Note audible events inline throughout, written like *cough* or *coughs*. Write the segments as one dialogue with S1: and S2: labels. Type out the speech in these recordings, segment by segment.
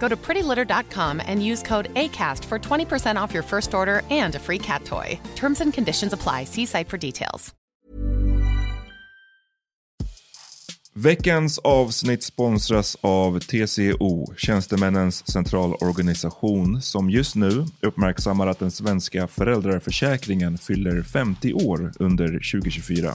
S1: Go to prettylitter.com and use code ACAST for 20% off your first order and a free cat toy. Terms and conditions apply. See site for details.
S2: Veckans avsnitt sponsras av TCO, Tjänstemännens centralorganisation, som just nu uppmärksammar att den svenska föräldraförsäkringen fyller 50 år under 2024.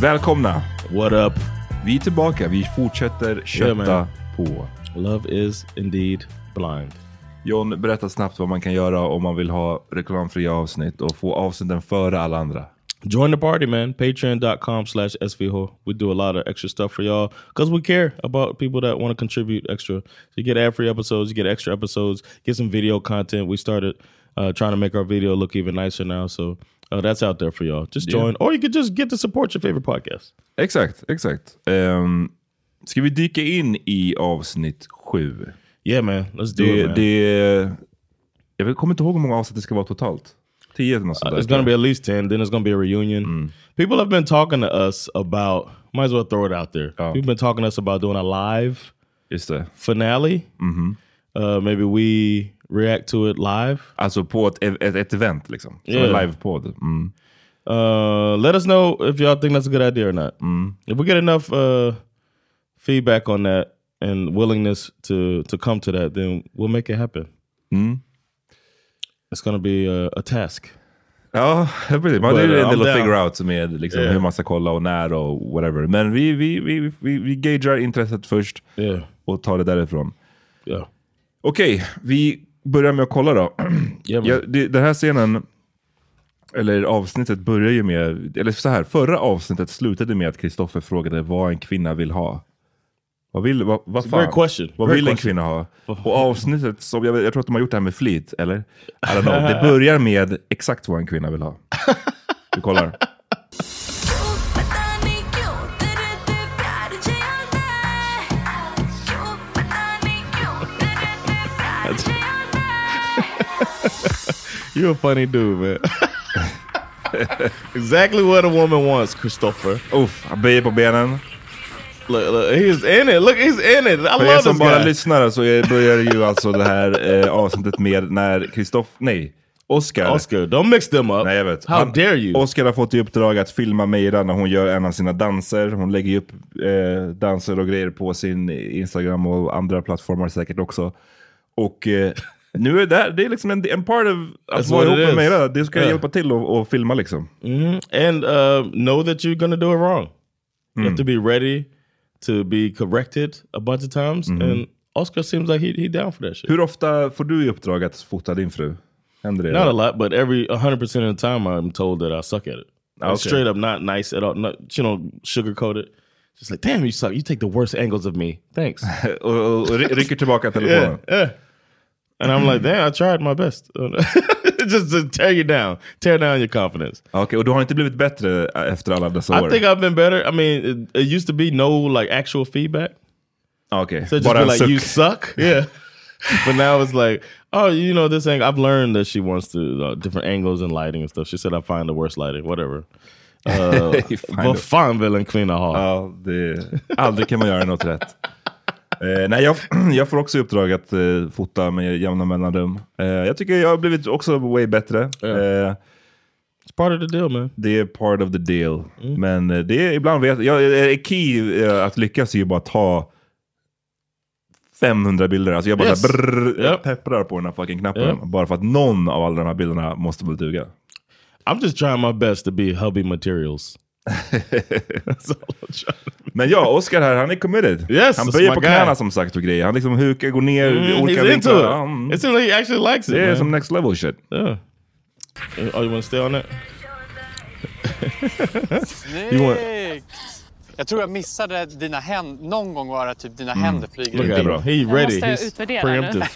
S2: Välkomna!
S3: What up?
S2: Vi är tillbaka. Vi fortsätter kötta
S3: man.
S2: på.
S3: Love is indeed blind.
S2: John, berätta snabbt vad man kan göra om man vill ha reklamfria avsnitt och få avsnitten före alla andra.
S3: Join the party, man. Patreon.com slash SVHO. We do a lot of extra stuff for y'all because we care about people that want to contribute extra. So you get ad free episodes, you get extra episodes, get some video content. We started uh, trying to make our video look even nicer now. So uh, that's out there for y'all. Just join, or you could just get to support your favorite podcast.
S2: Exakt, exakt. Um, ska vi dyka in i avsnitt sju?
S3: Yeah, man. Let's do
S2: Det,
S3: it. Man.
S2: det, jag vet- kommer inte ihåg hur många avsnitt det ska vara totalt. Tio eller något sånt
S3: Uh,
S2: där.
S3: it's going to be at least 10. Then it's going to be a reunion. People have been talking to us about, might as well throw it out there.
S2: Oh.
S3: People have been talking to us about doing a live
S2: Just det.
S3: finale.
S2: Mhm.
S3: Uh, maybe we react to it live.
S2: Alltså på ett, ett, ett event liksom. Som en
S3: Yeah.
S2: livepodd. Mm.
S3: Uh, let us know if y'all think that's a good idea or not.
S2: Mm.
S3: If we get enough uh, feedback on that and willingness to to come to that, then we'll make it happen.
S2: Mm.
S3: It's gonna be a, a
S2: *laughs*
S3: task.
S2: Ja, precis. Man,
S3: But,
S2: det är
S3: uh,
S2: en del
S3: I'm
S2: att
S3: down.
S2: figure out med liksom,
S3: Yeah.
S2: hur man ska kolla och när och whatever. Men vi, vi, vi, vi, vi, vi gagear intresset först
S3: Yeah,
S2: och tar det därifrån.
S3: yeah,
S2: Okej, vi börjar med att kolla då. *clears throat*
S3: yeah. man.
S2: Ja, det, den här scenen Eller avsnittet börjar ju med, eller så här, förra avsnittet slutade med att Kristoffer frågade vad en kvinna vill ha. Vad vill, vad, vad fan?
S3: Great question.
S2: Vad
S3: Great
S2: vill en
S3: question.
S2: kvinna ha? Och avsnittet, som jag, jag tror att de har gjort det här med flit, eller? I don't know.
S3: *laughs*
S2: Det börjar med exakt vad en kvinna vill ha. Vi kollar.
S3: You're a funny dude,
S2: *laughs*
S3: man. exactly what a woman wants, Christopher.
S2: Uff, han böjer på benen.
S3: Look, look, he's in it. Look, he's in it. I
S2: För er
S3: love
S2: som
S3: this
S2: bara
S3: guy.
S2: lyssnar så är- börjar ju alltså det här eh, avsnittet med när Kristoff, nej, Oscar.
S3: Oscar, don't mix them up.
S2: Nej jag vet.
S3: How dare you?
S2: Oscar har fått i uppdrag att filma Meira när hon gör en av sina danser. Hon lägger ju upp eh, danser och grejer på sin Instagram och andra plattformar säkert också. Och eh, nu är det där, det är liksom en, en part of att
S3: That's
S2: vara
S3: what
S2: ihop
S3: it
S2: med
S3: is.
S2: Meira. Det ska
S3: Yeah.
S2: hjälpa till att- att filma liksom.
S3: and uh, know that you're gonna do it wrong. You
S2: Mm.
S3: have to be ready to be corrected a bunch of times.
S2: Mm-hmm.
S3: And Oscar seems like he he down for that shit.
S2: Hur ofta får du i uppdrag att fota din fru? Händer det?
S3: Not a lot, but every 100 percent of the time, I'm told that I suck at it.
S2: Okay.
S3: It's Straight up, not nice at all. Not, you know, sugarcoat it. Just like, damn, you suck. You take the worst angles of me. Thanks.
S2: *laughs* och, och, och rycker tillbaka telefonen?
S3: *laughs* yeah, yeah. And I'm like, damn, I tried my
S2: *laughs*
S3: best. *laughs* just to tear you down, tear down your confidence.
S2: Ah, Okej, och du har inte blivit bättre efter alla dessa
S3: I
S2: år?
S3: think I've been better. I mean, it, it used to be no like actual feedback.
S2: Ah, Okej,
S3: So it'd just
S2: bara
S3: be
S2: en
S3: like,
S2: suck.
S3: you
S2: *laughs*
S3: suck. Yeah. but now it's like, oh, you know, this angle. I've learned that she wants to uh, different angles and lighting and stuff. She said I find the worst lighting,
S2: *laughs*
S3: whatever. Uh,
S2: You find
S3: but
S2: the-
S3: fine, villain, clean a hall.
S2: Ja, det, aldrig kan man göra något rätt. Eh, nej, jag, *clears throat* jag får också i uppdrag att eh, fota med jämna mellanrum. Eh, jag tycker jag har blivit också way bättre. Eh,
S3: it's part of the deal, man.
S2: det är part of the deal. Men eh, det är ibland vet jag, eh, key eh, att lyckas är ju bara att ta 500 bilder. Alltså jag bara
S3: Yes.
S2: så här, brrr,
S3: Yep.
S2: pepprar på den här fucking knappen.
S3: Yep.
S2: Bara för att någon av alla de här bilderna måste väl duga.
S3: I'm just trying my best to be hubby
S2: *laughs*
S3: materials. *laughs* That's all I'm trying.
S2: Men ja, Oscar här, han är committed.
S3: Yes,
S2: han
S3: that's
S2: böjer
S3: my
S2: på
S3: guy.
S2: knäna som sagt och grejer. Han liksom hukar, går ner i
S3: Mm,
S2: olika
S3: he's into it.
S2: Ja, mm.
S3: It seems like he actually likes it.
S2: Det är
S3: man.
S2: som next level shit.
S3: Yeah. Oh, you want to stay on that? you want?
S4: Jag tror jag missade dina händer. Någon gång var det typ dina händer flyger
S3: Look
S4: ut.
S3: at him.
S2: bra.
S3: Mm. He ready.
S5: måste
S3: He's Mm.
S5: utvärdera nu. *laughs*
S3: preemptive.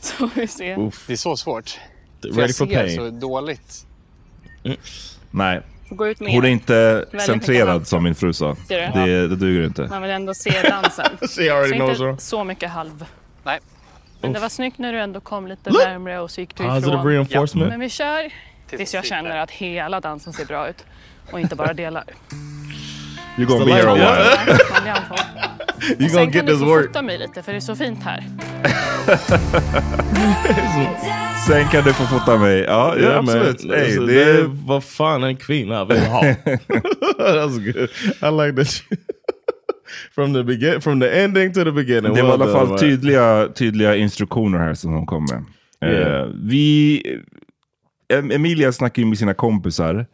S5: Så vi ser.
S4: Det är så svårt. För
S3: Ready
S4: jag
S3: for
S4: ser
S3: pain.
S4: så dåligt.
S2: Nej,
S5: Får gå ut med
S2: hon är
S5: er.
S2: inte
S5: Väldigt
S2: centrerad
S5: mycket
S2: som min fru sa.
S5: Ser
S2: Det,
S5: du?
S2: det duger inte.
S5: Man vill ändå se
S3: *laughs*
S5: dansen.
S3: She already
S5: så
S3: knows her.
S5: inte så mycket halv.
S4: Nej.
S5: Men det var snyggt när du ändå kom lite
S3: Look!
S5: närmre och så gick du
S3: Positive
S5: ifrån.
S3: reinforcement.
S5: Men vi kör tills jag känner att hela dansen ser bra ut och inte bara
S3: *laughs*
S5: delar.
S2: You're gonna be
S3: Still
S2: here a
S3: like-
S2: while.
S3: Yeah.
S2: *laughs*
S5: Sen
S3: You
S5: kan
S3: gonna get
S5: du
S3: this
S5: få
S3: work.
S5: fota mig lite för det är så fint här.
S2: Sen kan du få fota mig. Ja, ja
S3: Yeah, man.
S2: absolut. Hey,
S3: Alltså,
S2: det
S3: det
S2: är...
S3: var fan en kvinna vill *laughs* ha. That was good. I like that. you- *laughs* from the begin, from the ending to the beginning.
S2: Det var i
S3: Well
S2: alla
S3: done,
S2: fall
S3: man.
S2: tydliga, tydliga instruktioner här som hon kom med. Eh,
S3: Yeah.
S2: vi... Em- Emilia snackar ju med sina kompisar.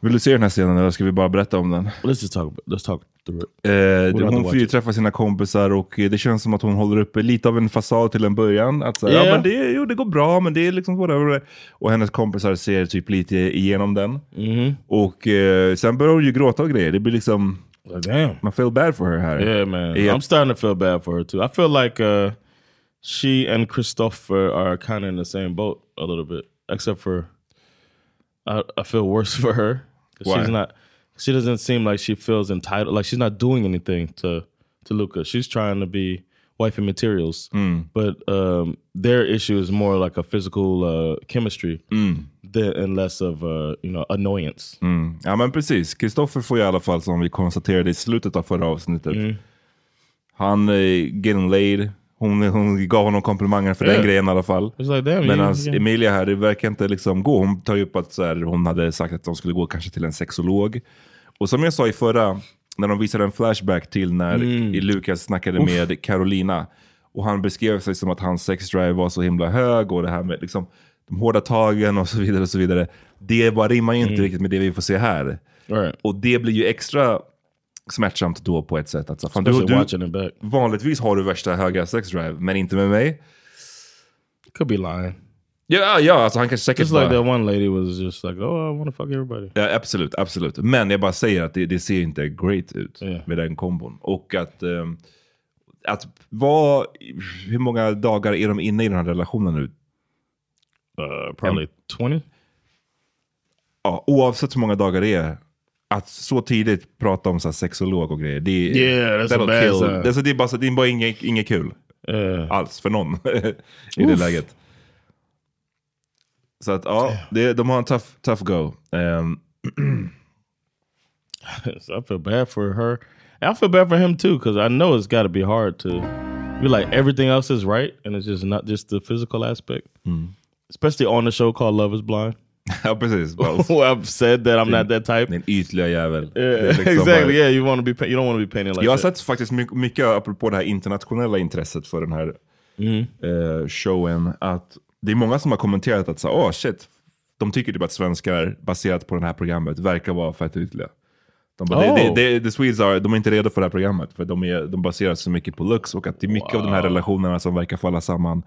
S2: Vill du se den här scenen eller ska vi bara berätta om den?
S3: Mm. Let's just talk. about- Let's talk through it.
S2: Eh,
S3: don't
S2: hon
S3: watch
S2: får ju
S3: it.
S2: träffa sina kompisar och eh, det känns som att hon håller uppe lite av en fasad till en början. Att så här, ja,
S3: Yeah.
S2: men det, jo, det går bra, men det är liksom whatever. Och hennes kompisar ser typ lite igenom den.
S3: Mm-hmm.
S2: Och eh, sen börjar hon ju gråta och grejer. Det blir liksom,
S3: Like, damn.
S2: man feel bad for her här.
S3: Yeah, man.
S2: Yeah.
S3: I'm starting to feel bad for her too. I feel like uh, she and Christopher are kind of in the same boat a little bit, except for I, I feel worse *laughs* for her. 'Cause
S2: Why?
S3: She's not. She doesn't seem like she feels entitled. Like she's not doing anything to to Luca. She's trying to be wife and materials,
S2: Mm.
S3: but um, their issue is more like a physical uh, chemistry
S2: Mm.
S3: than, and less of uh, you know annoyance.
S2: Ja men precis, Kristoffer får i alla fall som vi konstaterade i slutet av förra avsnittet. Han eh, getting laid, hon, hon gav honom komplimanger för den
S3: Yeah.
S2: grejen i alla fall.
S3: It's like damn. you-
S2: Medan
S3: you-
S2: Emilia här, det verkar inte liksom gå. Hon tar ju upp att så här, hon hade sagt att de skulle gå kanske till en sexolog. Och som jag sa i förra, när de visade en flashback till när
S3: Mm.
S2: Lukas snackade med Carolina. Och han beskrev sig som att hans sexdrive var så himla hög och det här med liksom, de hårda tagen och så vidare. och så vidare. Det bara rimmar ju inte riktigt med det vi får se här.
S3: Mm. all right.
S2: Och det blir ju extra smärtsamt då på ett sätt. Att, så, fan, du,
S3: Especially
S2: du,
S3: watching it back.
S2: vanligtvis har du värsta höga sexdrive, men inte med mig.
S3: Could be lying.
S2: Ja, ja, alltså han kanske säkert
S3: Just like
S2: bara...
S3: that one lady was just like, oh, I want to fuck everybody.
S2: Ja, absolut, absolut. Men jag bara säger att det, det ser inte great ut
S3: Ja.
S2: med den kombon. Och att, ehm, att vad, hur många dagar är de inne i den här relationen nu?
S3: Uh, probably 20.
S2: Ja, oavsett hur många dagar det är, att så tidigt prata om så här sexolog och grejer, det, är-
S3: Yeah, that's a
S2: that'll
S3: bad
S2: kill
S3: sign.
S2: them. Alltså, det är bara, så- det är bara inget, inget kul
S3: Uh,
S2: alls för någon *laughs* i det läget. Så att ja, det, de har en tough, tough go.
S3: *clears throat*
S2: Ehm,
S3: I feel bad for her. And I feel bad for him too, because I know it's got to be hard to be like everything else is right, and it's just not just the physical aspect.
S2: Mm.
S3: Especially on the show called Love Is
S2: *laughs*
S3: Blind,
S2: ja, precis. Bara,
S3: *laughs*
S2: uff,
S3: where I've said that I'm not that type.
S2: den ytliga jävel. Det
S3: Yeah,
S2: är liksom bara-
S3: *laughs* exactly. Yeah, you want to be. pa- You don't want to be painted like
S2: Jag har
S3: that.
S2: sett faktiskt my- mycket, apropå det här internationella intresset för den här
S3: Mm.
S2: eh, showen, att det är många som har kommenterat att så, oh, shit, de tycker typ att svenskar, baserat på det här programmet, verkar vara fett ytliga. De bara,
S3: Oh.
S2: "Det- det- det- the Swedes are, de är inte redo för det här programmet, för de, är, de baseras så mycket på looks och att det är mycket av de här relationerna som verkar falla samman,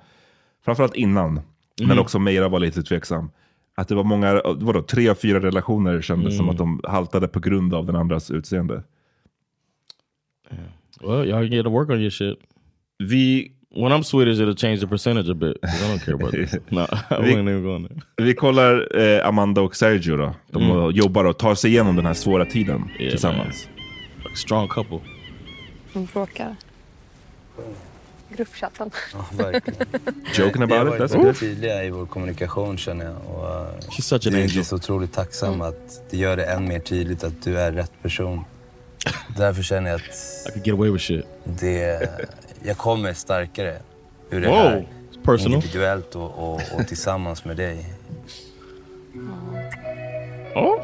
S2: framförallt innan,
S3: Mm.
S2: men också Meira var lite tveksam. Att det var många, vadå, tre av fyra relationer kändes
S3: Mm.
S2: som att de haltade på grund av den
S3: *laughs*
S2: andras utseende.
S3: Well, y'all get to work on your shit.
S2: Vi
S3: When I'm Swedish, it'll change the percentage a bit. 'cause I don't care about this.
S2: *laughs*
S3: no, *laughs* I
S2: We-
S3: wasn't even going there.
S2: Vi kollar eh, Amanda och Sergio då. De
S3: Mm.
S2: eh, jobbar och tar sig igenom den här svåra tiden tillsammans.
S3: Like strong couple.
S6: De bråkar. Gruppchatten.
S2: Joking about it, that's okay.
S7: tydliga i vår kommunikation känner jag. Och, eh,
S3: She's such an
S7: vi
S3: angel.
S7: är så otroligt tacksam att det gör det än mer tydligt att du är rätt person. Därför känner jag att
S3: I could get away with shit.
S7: det, jag kommer starkare ur det
S3: Whoa,
S7: här.
S3: it's personal.
S7: Individuellt och, och, och tillsammans med dig.
S3: Oh,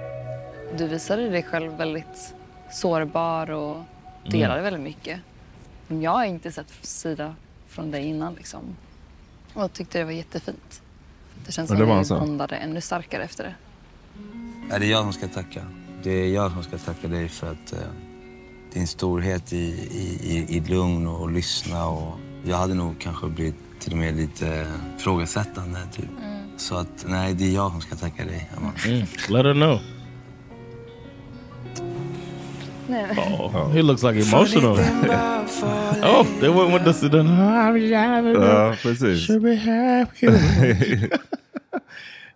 S6: Du visade dig själv väldigt sårbar och delade
S3: Mm.
S6: väldigt mycket. Som jag har inte sett sida från dig innan liksom. Och jag tyckte det var jättefint. Det känns
S2: Ja,
S6: som
S2: det var han
S6: att vi
S2: så.
S6: bondade ännu starkare efter det.
S7: Nej, det är jag som ska tacka. Det är jag som ska tacka dig för att eh, din storhet i, i, i, i lugn och, och lyssna. Och jag hade nog kanske blivit till och med lite frågesättande. Typ. Så att nej, det är jag som ska tacka dig, Amanda.
S3: Mm. let her know.
S6: Nej.
S3: Oh, he looks like emotional. *laughs* oh, they went with this. The,
S2: Ja, precis.
S3: should be happy.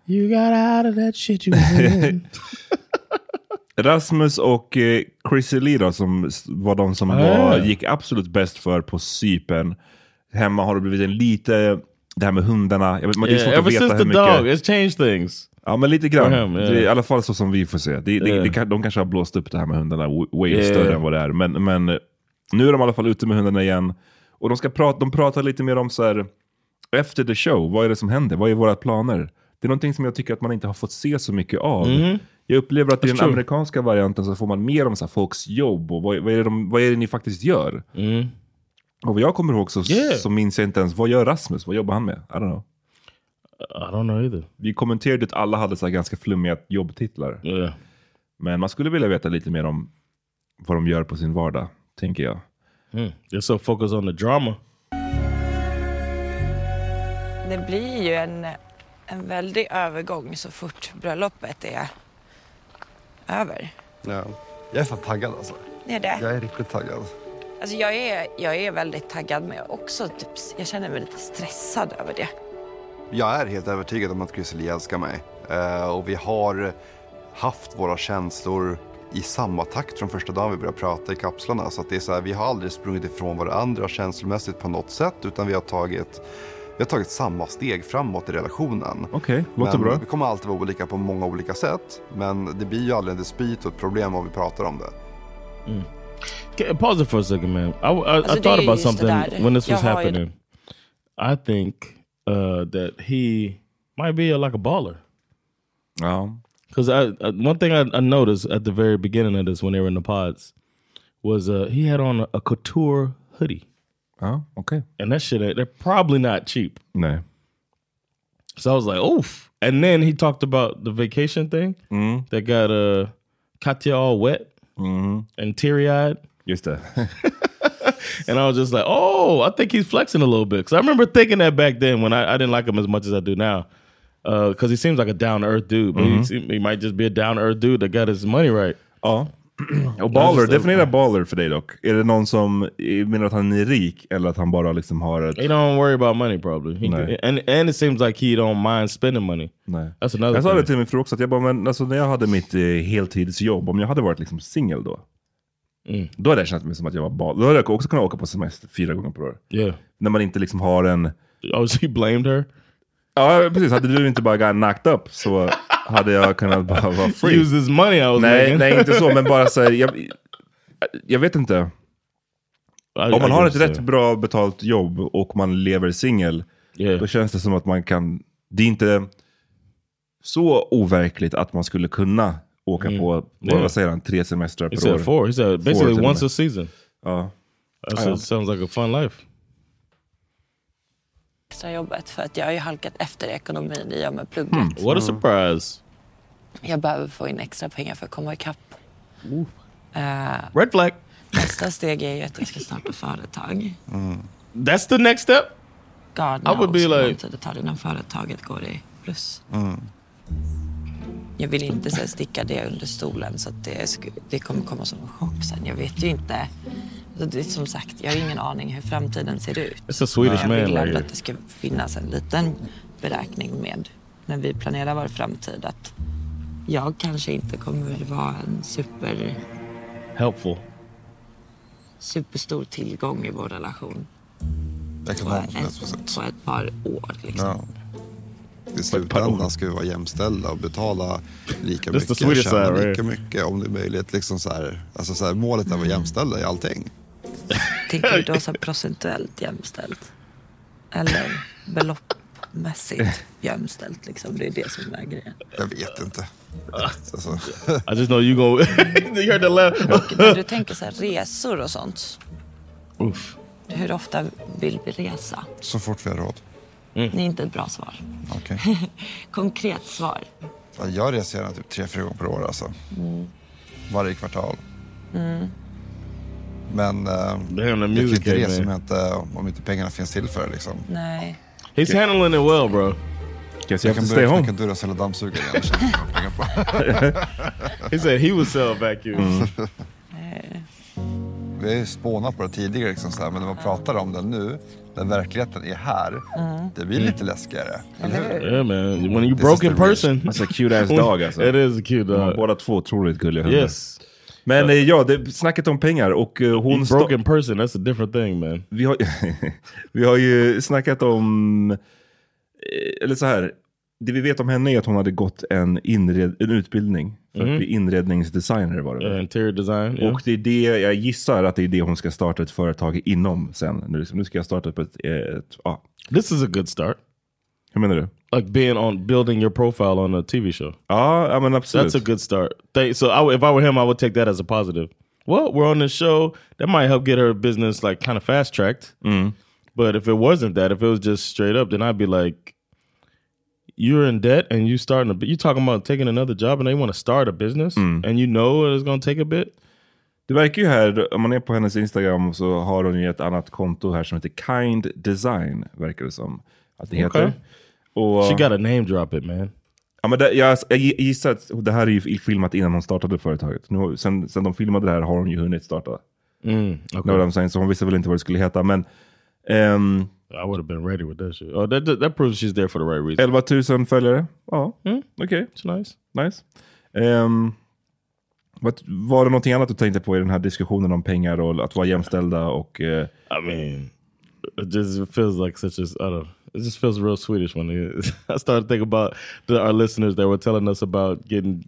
S3: you got out of that shit you was in.
S2: *laughs* Rasmus och eh, Chrissy Lee då, som s- var de som
S3: Ah.
S2: var, gick absolut bäst för på Cypern. Hemma har det blivit en lite, det här med hundarna, jag vet, man- det är
S3: yeah,
S2: svårt att
S3: ever
S2: veta
S3: since
S2: hur
S3: the dog,
S2: mycket.
S3: it's changed things.
S2: Ja, men lite grann.
S3: For him, yeah.
S2: det är, I alla fall så som vi får se. Det, det,
S3: Yeah.
S2: det, kan- de kanske har blåst upp det här med hundarna w- way
S3: Yeah.
S2: större än vad det är. Men, men eh, nu är de i alla fall ute med hundarna igen. Och de, ska prata, de pratar lite mer om så här, efter the show, vad är det som händer? Vad är våra planer? Det är någonting som jag tycker att man inte har fått se så mycket av. Jag upplever att i den
S3: Mhm. true.
S2: amerikanska varianten så får man mer om så här, folks jobb och vad, vad, är det de, vad är det ni faktiskt gör? Och vad jag kommer ihåg så,
S3: Mm. Yeah.
S2: så minns jag inte ens, vad gör Rasmus? Vad jobbar han med? I don't know.
S3: I don't know either.
S2: Vi kommenterade att alla hade så här ganska flummiga jobbtitlar.
S3: Yeah.
S2: Men man skulle vilja veta lite mer om vad de gör på sin vardag, tänker jag.
S3: Mm. They're so focused on the drama.
S8: Det blir ju en, en väldig övergång så fort bröllopet är över.
S7: Jag är fan taggad alltså.
S8: Det är det.
S7: är riktigt taggad.
S8: Alltså jag, är, jag är väldigt taggad men jag, är också typ, jag känner mig lite stressad över det.
S7: Jag är helt övertygad om att Chrissie älskar mig. Eh, och vi har haft våra känslor i samma takt från första dagen vi började prata i kapslarna. Så att det är så här, vi har aldrig sprungit ifrån varandra känslomässigt på något sätt. Utan vi har tagit, vi har tagit samma steg framåt i relationen.
S2: Okej, låter
S7: men
S2: bra.
S7: Vi kommer alltid vara olika på många olika sätt. Men det blir ju aldrig en dispyt och ett problem om vi pratar om det.
S3: Okay, pause it for a second, man. I, I, I
S8: Alltså,
S3: thought
S8: det är
S3: about
S8: just det
S3: something
S8: där.
S3: when this was
S8: Jag har ju-
S3: happening. I think uh, that he might be uh, like a baller.
S2: Ja.
S3: Because I, I one thing I, I noticed at the very beginning of this when they were in the pods was uh, he had on a, a couture hoodie,
S2: Ja, okej.
S3: and that shit ain't- they're probably not cheap.
S2: Nej.
S3: So I was like, oof. And then he talked about the vacation thing that got uh, Katya all wet and teary eyed.
S2: Just det.
S3: *laughs* And I was just like, oh, I think he's flexing a little bit. Because I remember thinking that back then when I, I didn't like him as much as I do now. because he seems like a down to earth dude. But he
S2: Mhm.
S3: seem- he might just be a down to earth dude that got his money right.
S2: Ja. Och baller, definiera baller för dig dock. Är det någon som eh, menar att han är rik eller att han bara liksom har ett...
S3: He don't worry about money probably. He
S2: Nej.
S3: could- and and it seems like he don't mind spending money.
S2: Nej.
S3: That's another
S2: jag sa
S3: thing.
S2: det till min fru också, att jag bara, men alltså, när jag hade mitt eh, heltidsjobb, om jag hade varit liksom singel då,
S3: Mm.
S2: då hade jag känt mig som att jag var bal. Då hade jag också kunnat åka på semester fyra gånger per år.
S3: Yeah.
S2: När man inte liksom har en...
S3: Oh, so you blamed her?
S2: Ja, precis. Hade du inte bara got knocked up så hade jag kunnat bara vara free.
S3: *laughs* Use this money I was
S2: nej,
S3: making.
S2: nej, inte så, men bara så här, jag, jag vet inte. Om man
S3: I
S2: har ett
S3: guess,
S2: rätt
S3: yeah.
S2: bra betalt jobb och man lever singel, då känns det som att man kan... Det är inte så overkligt att man skulle kunna åka på, på
S3: Yeah.
S2: vad säger han, tre semestrar
S3: Mm. He
S2: per år.
S3: said four. He said basically
S2: till och
S3: once
S2: med.
S3: a season.
S2: Ja.
S3: That
S2: Ja, ja.
S3: sounds like a fun life.
S8: extra jobbet för att jag har ju halkat efter i ekonomin i och med plugget.
S3: Mm,
S8: Mm.
S3: What a surprise.
S8: Jag behöver få in extra pengar för att komma ikapp. Eh,
S3: Red flag.
S8: nästa steg är ju att jag ska starta företag.
S3: Mm. That's the next step.
S8: God
S3: I would
S8: knows
S3: be
S8: hur lång
S3: like-
S8: tid det tar innan företaget går i plus.
S2: Mm.
S8: Jag vill inte så här, sticka det under stolen så att det, sk- det kommer komma som en chock sen. Jag vet ju inte. Så Det är som sagt, jag har ingen aning hur framtiden ser ut.
S3: It's a Swedish
S8: jag
S3: man
S8: vill
S3: right
S8: ändå
S3: here.
S8: att det ska finnas en liten beräkning med när vi planerar vår framtid att jag kanske inte kommer vara en super,
S3: Helpful.
S8: superstor tillgång i vår relation
S7: Ekonomiskt på ett-
S8: på ett par år. Liksom.
S7: Ja. I slutändan ska vi vara jämställda och betala lika
S3: That's the
S7: mycket,
S3: Swedish
S7: tjäna
S3: side,
S7: lika
S3: right?
S7: mycket om det är möjligt. Liksom så här, alltså så här, målet är att vara jämställda i allting.
S8: Mm. Tänker du då så här procentuellt jämställt? Eller beloppmässigt jämställt? Liksom. Det är det som är grejen.
S7: Jag vet inte. Alltså.
S3: *laughs* I just know you go. you heard the laugh.
S8: Och när du tänker så här resor och sånt.
S3: Uff.
S8: Hur ofta vill vi resa?
S7: Så fort vi har råd.
S8: Det är inte ett bra svar.
S7: Okej.
S8: *laughs* Konkret svar.
S7: Ja, Jag reser gärna typ tre, fyra gånger per år alltså. Varje kvartal.
S8: Mm.
S7: Men eh, jag kan
S3: music
S7: inte
S3: came
S7: resa om,
S3: in.
S7: jag inte, om inte pengarna finns till för det liksom.
S8: Nej.
S3: He's handling it well, bro.
S2: Guess
S7: jag kan börja knacka dörr och sälja dammsugare
S2: *laughs*
S7: igen. Det känns som jag har pengar på.
S3: *laughs* He said he would sell a vacuum.
S2: Mm.
S7: *laughs* Vi har ju spånat på det tidigare, liksom så här, men när man pratar om det nu, när verkligheten är här, det blir lite läskigare.
S3: Yeah, man. When you
S7: This
S3: broke
S7: is
S3: in
S7: the
S3: person,
S7: reach.
S2: Alltså cute
S3: *laughs*
S2: ass dog alltså.
S3: It is a cute
S2: De
S3: dog.
S2: var Båda två otroligt gulliga hundar.
S3: Yes.
S2: Men eh, ja, det, snacket om pengar och eh, hon...
S3: You broke in person, that's a different thing man.
S2: Vi har, *laughs* vi har ju snackat om... eh, Eller så här, det vi vet om henne är att hon hade gått en, inred, en utbildning för
S3: Mhm.
S2: att bli inredningsdesigner var det väl?
S3: Yeah, Uh, interior design. yeah.
S2: Och det är det, jag gissar att det är det hon ska starta ett företag inom sen. Nu, liksom, nu ska jag starta upp ett... ett ja.
S3: This is a good start.
S2: Hur menar du?
S3: Like being on building your profile on a TV show.
S2: Ah, I mean, absolutely.
S3: That's a good start. Thank, so I would- if I were him, I would take that as a positive. Well, we're on this show. That might help get her business like kind of fast tracked. But if it wasn't that, if it was just straight up, then I'd be like, "You're in debt, and you starting a. You talking about taking another job, and they want to start a business, and you know it's going to take a bit."
S2: Det verkar ju här, om man är på hennes Instagram så har hon ju ett annat konto här som heter Kind Design, verkar det som att det heter.
S3: Okay.
S2: Och,
S3: She got a name drop it man.
S2: ja, men det, jag, jag gissar att det här är ju filmat innan hon startade företaget. Nu, har- sen, sen de filmade det här har hon ju hunnit starta.
S3: Mm,
S2: Know
S3: okay.
S2: what I'm saying? Så hon visste väl inte vad det skulle heta. Men, ehm,
S3: I would have been ready with that shit. Oh, that, that that proves she's there for the right reason.
S2: 11 000 följare. Ja,
S3: Mm.
S2: okej.
S3: It's nice.
S2: Nice. Ehm, vad, var det någonting annat du tänkte på i den här diskussionen om pengar och att vara jämställda? Och, eh,
S3: I mean, it just it feels like such as I don't. know. It just feels real Swedish when it, *laughs* I started thinking about the, our listeners that were telling us about getting,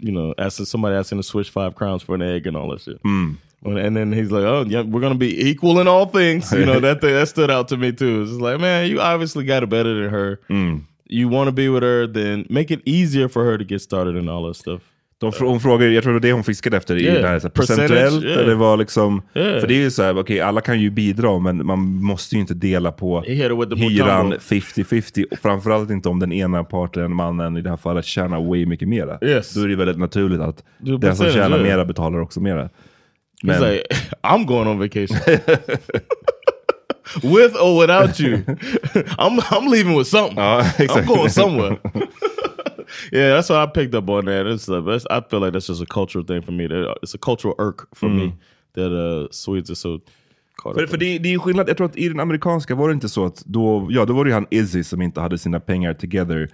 S3: you know, asking somebody asking to switch five crowns for an egg and all that shit.
S2: Mm.
S3: When- And then he's like, "Oh, yeah, we're gonna be equal in all things." You know that thing, that stood out to me too. It's just like, man, you obviously got it better than her.
S2: Hmm.
S3: You want to be with her, then make it easier for her to get started and all that stuff.
S2: De, fr- hon frågar, jag tror det var det hon fiskade efter i
S3: Yeah.
S2: det här, så här,
S3: Percentage,
S2: procentuellt.
S3: yeah.
S2: Eller var liksom,
S3: Yeah.
S2: För det är ju så här, okej alla kan ju bidra men man måste ju inte dela på
S3: He hit her with the
S2: hyran
S3: Mutombo.
S2: 50-50. Och framförallt inte om den ena parten, mannen i det här fallet, tjänar way mycket mera.
S3: Yes.
S2: Då är det väldigt naturligt att
S3: Du,
S2: den som
S3: percentage,
S2: tjänar
S3: yeah.
S2: mera
S3: *laughs*
S2: betalar också mera. *laughs*
S3: He's like, I'm going on vacation. *laughs* with or without you. *laughs* I'm I'm leaving with something.
S2: *laughs*
S3: I'm
S2: Uh, exactly.
S3: going
S2: *laughs*
S3: somewhere. *laughs* yeah, that's what I picked up on that. It's the best. I feel like that's just a cultural thing for me. That- uh, It's a cultural irk for
S2: Mm.
S3: me that uh, Swedes are so caught
S2: För,
S3: up
S2: för
S3: in.
S2: det, det är ju skillnad, jag tror att i den amerikanska var det inte så att då, ja då var det ju han Izzy som inte hade sina pengar together.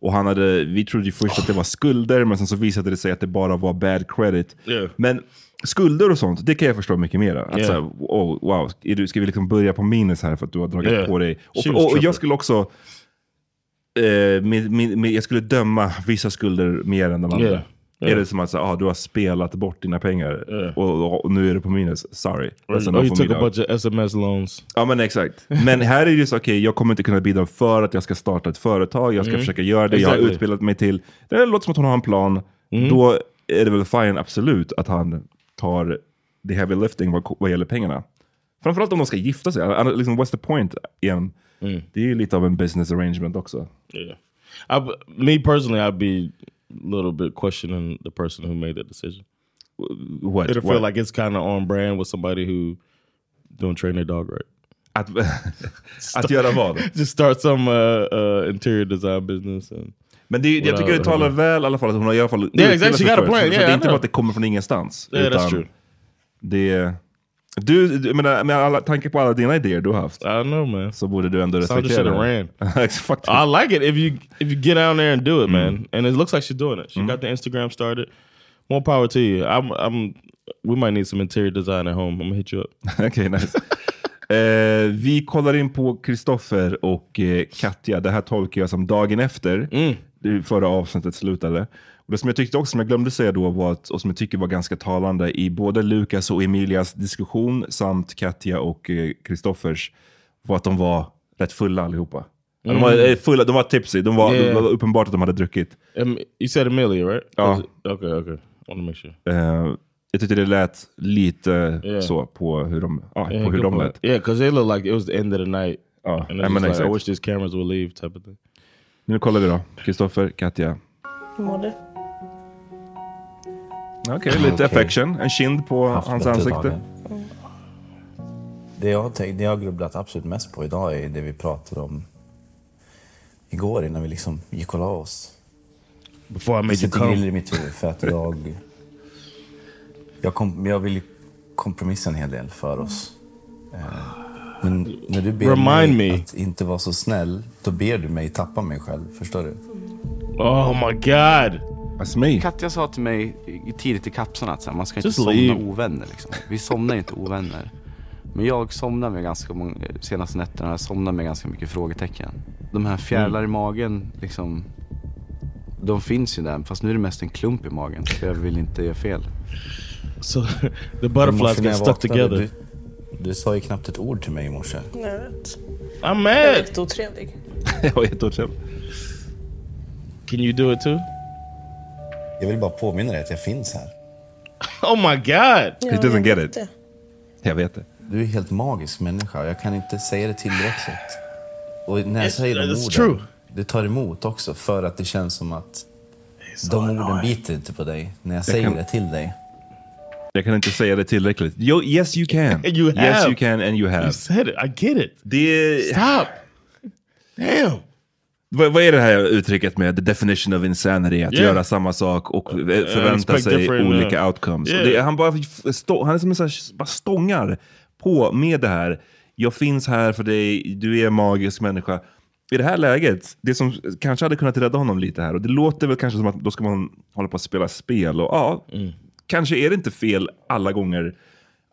S2: Och han hade, vi trodde ju först att det var skulder, men sen så visade det sig att det bara var bad credit.
S3: Yeah.
S2: Men skulder och sånt, det kan jag förstå mycket mera. Att
S3: Yeah.
S2: så här, oh, wow, är du, ska vi liksom börja på minus här för att du har dragit
S3: Yeah.
S2: på dig?
S3: She
S2: Och,
S3: was
S2: och, och
S3: tripping.
S2: jag skulle också, eh, med, med, med, jag skulle döma vissa skulder mer än de andra.
S3: Yeah. Yeah.
S2: Är det som att så, ah, du har spelat bort dina pengar och, och nu är du på minus, sorry. Alltså, That's
S3: Or
S2: enough
S3: Oh, you
S2: for
S3: took
S2: me
S3: a
S2: now.
S3: bunch of SMS loans.
S2: Ja
S3: *laughs*
S2: men exakt. Men här är det ju så, okej jag kommer inte kunna bidra för att jag ska starta ett företag, jag ska
S3: Mm.
S2: försöka göra det, jag har
S3: Exactly.
S2: utbildat mig till. Det låter som att hon har en plan.
S3: Mm.
S2: Då är det väl fine absolut att han tar the heavy lifting vad, vad gäller pengarna. Framförallt om de ska gifta sig, Annars, liksom, what's the point? Igen.
S3: Mm.
S2: Det är ju lite av en business arrangement också.
S3: Yeah. I, b- me personally, I'd be a little bit questioning the person who made that decision.
S2: What?
S3: It'll
S2: Why?
S3: feel like it's kind of on brand with somebody who don't train their dog right.
S2: Att,
S3: *laughs*
S2: att göra vad?
S3: Just start some uh, uh, interior design business. And
S2: Men det, jag tycker det talar väl i alla fall att hon har i alla fall
S3: Yeah, exactly.
S2: utbildat sig
S3: She got a
S2: först.
S3: plan.
S2: Så
S3: Yeah,
S2: det
S3: I
S2: är inte
S3: know.
S2: bara att det kommer från ingenstans.
S3: Yeah, that's
S2: utan
S3: true.
S2: Det, du, du, jag menar, med alla tanke på alla dina idéer du har haft.
S3: I know man.
S2: Så borde du ändå
S3: Sandra should have
S2: respektera
S3: ran.
S2: *laughs* Fuck
S3: I like it if you if you get down there and do it,
S2: Mm-hmm.
S3: man. And it looks like she's doing it. She got the Instagram started. More power to you. I'm I'm. We might need some interior design at home. I'm gonna hit you up.
S2: *laughs*
S3: Mm-hmm.
S2: okay, nice. *laughs* Eh, vi kollar in på Kristoffer och eh, Katja. Det här tolkar jag som dagen efter det förra avsnittet slutade. Och det som jag tyckte också, som jag glömde säga då, var att, och som jag tycker var ganska talande i både Lukas och Emilias diskussion samt Katja och eh, Kristoffers, var att de var rätt fulla allihopa. Ja, De, var,
S3: Mm.
S2: eh, fulla, de var tipsy. De var,
S3: Yeah.
S2: det var uppenbart att de hade druckit.
S3: Um, you said Amelia, right?
S2: Ja.
S3: Is it- Okay, okay. I want to make sure.
S2: Eh, jag tyckte det lät lite
S3: Yeah.
S2: så på hur de, ja,
S3: Yeah,
S2: på hur
S3: good
S2: de
S3: point.
S2: lät.
S3: Yeah, because they looked like it was the end of the night.
S2: Oh,
S3: and
S2: I
S3: I,
S2: mean,
S3: like, I
S2: exactly.
S3: wish these cameras would leave, type of thing.
S2: Nu kollar vi då. Kristoffer, Katja.
S9: Hur mår du?
S2: Okej, lite
S10: Okej.
S2: affection. En kind på
S10: Haft
S2: hans
S10: bättre
S2: ansikte.
S10: dagar. Det jag, har tänkt, det jag har grubblat absolut mest på idag är det vi pratade om igår innan vi liksom gick och la oss.
S3: Before I
S10: det
S3: made you
S10: sitter griller i
S3: come.
S10: mitt huvud för att jag... Jag, kom, jag vill ju kompromissa en hel del för oss. Eh, Men när du ber
S3: Remind
S10: mig
S3: me.
S10: att inte vara så snäll, då ber du mig tappa mig själv. Förstår du?
S3: Oh my god! *laughs*
S2: That's me.
S11: Katja sa till mig i- tidigt i kapseln att så här, man ska inte
S3: Just
S11: somna
S3: leave.
S11: ovänner. Liksom. Vi somnar inte ovänner. Men jag somnar med ganska många, senaste nätterna, jag somnar med ganska mycket frågetecken. De här fjärilar
S3: Mm.
S11: i magen, liksom, de finns ju där. Fast nu är det mest en klump i magen, för jag vill inte göra fel.
S3: So the
S10: I
S3: butterflies
S10: morse när
S3: get
S10: jag
S3: stuck
S10: vaknade,
S3: together.
S10: Du, du sa ju knappt ett ord till mig i
S3: *laughs*
S10: morse.
S9: Nej, jag vet.
S3: I'm
S9: Jag är
S3: mad.
S9: lite otrevlig.
S2: Jag är jätteotrevlig.
S3: Can you do it too?
S10: Jag vill bara påminna dig att jag finns här.
S3: Oh my god!
S10: He doesn't get it.
S9: Det.
S2: Jag vet det.
S10: Du är en helt magisk människa och jag kan inte säga det tillräckligt. Och när jag
S3: It's-
S10: säger de
S3: it's
S10: orden,
S3: true.
S10: det tar emot också för att det känns som att de orden biter inte på dig när jag
S2: Jag
S10: säger
S2: kan-
S10: det till dig.
S2: Jag kan inte säga det tillräckligt. Jo, yes you can.
S3: You
S2: Yes
S3: have.
S2: you can and you have.
S3: You said it. I get it.
S2: Det...
S3: Stop. Damn.
S2: Vad, vad är det här uttrycket med the definition of insanity? Att
S3: Yeah.
S2: göra samma sak och eh, förvänta
S3: expect
S2: sig
S3: different,
S2: olika
S3: uh,
S2: outcomes.
S3: yeah.
S2: Och det, han, bara f- stå, han är som en sån här, bara stångar på med det här. Jag finns här för dig, du är en magisk människa. I det här läget, det som kanske hade kunnat rädda honom lite här, och det låter väl kanske som att då ska man hålla på att spela spel. Och ja,
S3: Mm.
S2: kanske är det inte fel alla gånger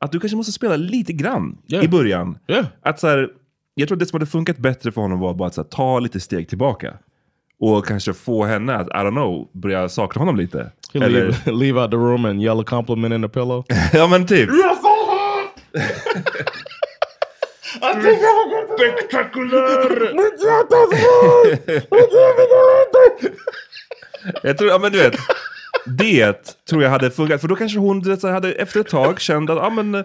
S2: att du kanske måste spela lite grann i början. Att så här, jag tror att det som hade funkat bättre för honom var bara att så här, ta lite steg tillbaka. Och kanske få henne att, I don't know, börja sakna honom lite.
S3: He leave, *laughs* leave out the room and yell a compliment in the pillow.
S2: ja men typ.
S3: Spektakulär!
S2: *laughs* jag tror, ja men du vet. Det tror jag hade funkat. För då kanske hon du vet, så här, hade efter ett tag känt att, ja men, eh,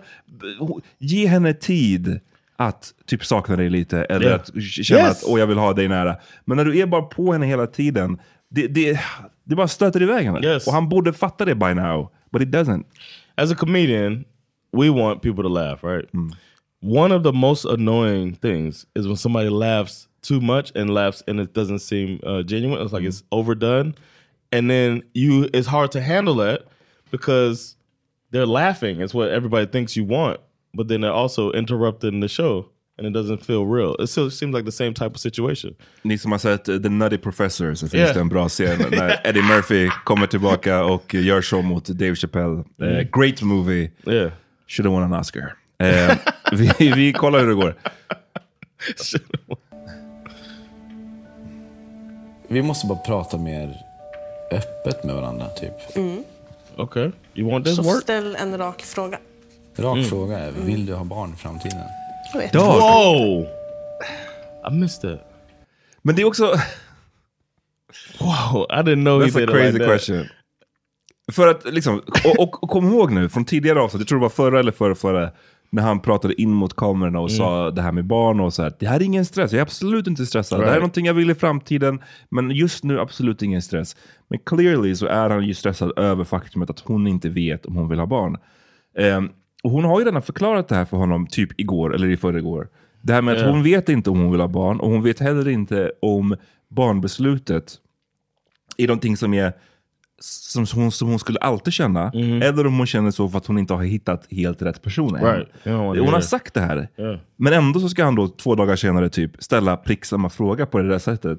S2: ho- ge henne tid att typ sakna dig lite. Eller
S3: Yeah.
S2: att känna
S3: Yes.
S2: att, åh jag vill ha dig nära. Men när du är bara på henne hela tiden, det, det, det bara stöter iväg henne. Och han borde fatta det by now. But it doesn't. Mm.
S3: As a comedian, we want people to laugh, right? One of the most annoying things is when somebody laughs too much and laughs and it doesn't seem uh, genuine.
S2: Mm.
S3: It's like it's overdone, and then you it's hard to handle that because they're laughing. It's what everybody thinks you want, but then they're also interrupting the show, and it doesn't feel real. It still seems like the same type of situation.
S2: Ni som har sett eh, The Nutty Professor så finns
S3: Yeah.
S2: det en
S3: *laughs*
S2: bra scen när Eddie Murphy kommer tillbaka och gör så mot Dave Chappelle. Eh,
S3: Mm.
S2: great movie.
S3: Yeah.
S2: Should have won an Oscar. Eh, *laughs* vi, vi kollar hur det går.
S10: *laughs* Vi måste bara prata mer öppet med varandra, typ.
S9: Mm.
S3: Okej. You want Mm.
S9: Så ställ en rak fråga.
S10: Rak fråga är, vill du ha barn i framtiden?
S9: Mm. Jag vet
S10: Dag.
S9: inte.
S3: Wow! I missed it.
S2: Men det är också...
S3: Wow, I didn't know he
S2: That's a
S3: did it
S2: crazy
S3: like that.
S2: question. För att liksom, och, och, och kom ihåg nu från tidigare avsnitt, jag tror det var förra eller förra, förra när han pratade in mot kamerorna och
S3: Mm.
S2: sa det här med barn och så här. Det här är ingen stress, jag är absolut inte stressad. Det här är
S3: Right.
S2: någonting jag vill i framtiden, men just nu absolut ingen stress. Men clearly så är han ju stressad över faktumet att hon inte vet om hon vill ha barn. Ehm, och hon har ju redan förklarat det här för honom, typ igår eller i förrgår. Det här med att
S3: Ja.
S2: hon vet inte om hon vill ha barn och hon vet heller inte om barnbeslutet är någonting som är som hon, som hon skulle alltid känna.
S3: Mhm.
S2: Eller om hon känner så för att hon inte har hittat helt rätt person än.
S3: Right. Ja, det är
S2: Hon har
S3: det.
S2: sagt det här.
S3: Yeah.
S2: Men ändå så ska han då två dagar senare typ ställa prick samma fråga på det där sättet.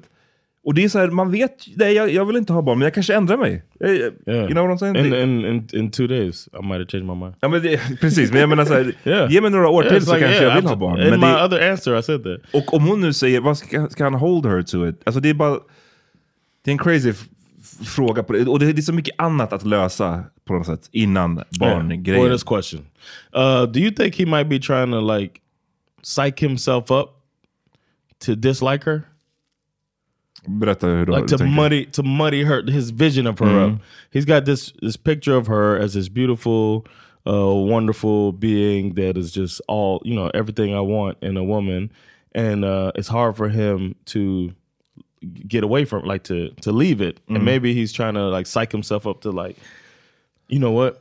S2: Och det är så här, man vet, nej jag, jag vill inte ha barn, men jag kanske ändrar mig. Jag, jag-
S3: Yeah.
S2: You know what I'm saying?
S3: In, in, in, in two days, I might have changed my mind.
S2: Ja, men det, precis, men jag menar
S3: *laughs*
S2: så här,
S3: Yeah.
S2: ge mig några år
S3: Yeah,
S2: till
S3: it's
S2: så
S3: like,
S2: kanske
S3: yeah,
S2: jag vill ha
S3: I'm-
S2: barn.
S3: in
S2: Men
S3: my
S2: det,
S3: other answer I said that.
S2: och om hon nu säger, vad ska, ska han hold her to it? Alltså det är bara, det är en crazy f- f- fråga på det. Och det, det är så mycket annat att lösa på något sätt innan barngrejen.
S3: What is question? Uh, do you think he might be trying to like psych himself up to dislike her?
S2: Berätta hur då,
S3: like
S2: du
S3: to
S2: tänker.
S3: muddy to muddy her his vision of her
S2: Mhm.
S3: up. He's got this this picture of her as this beautiful, uh, wonderful being that is just all you know everything I want in a woman, and uh, it's hard for him to get away from like to to leave it.
S2: Mhm.
S3: And maybe he's trying to like psych himself up to like, you know what?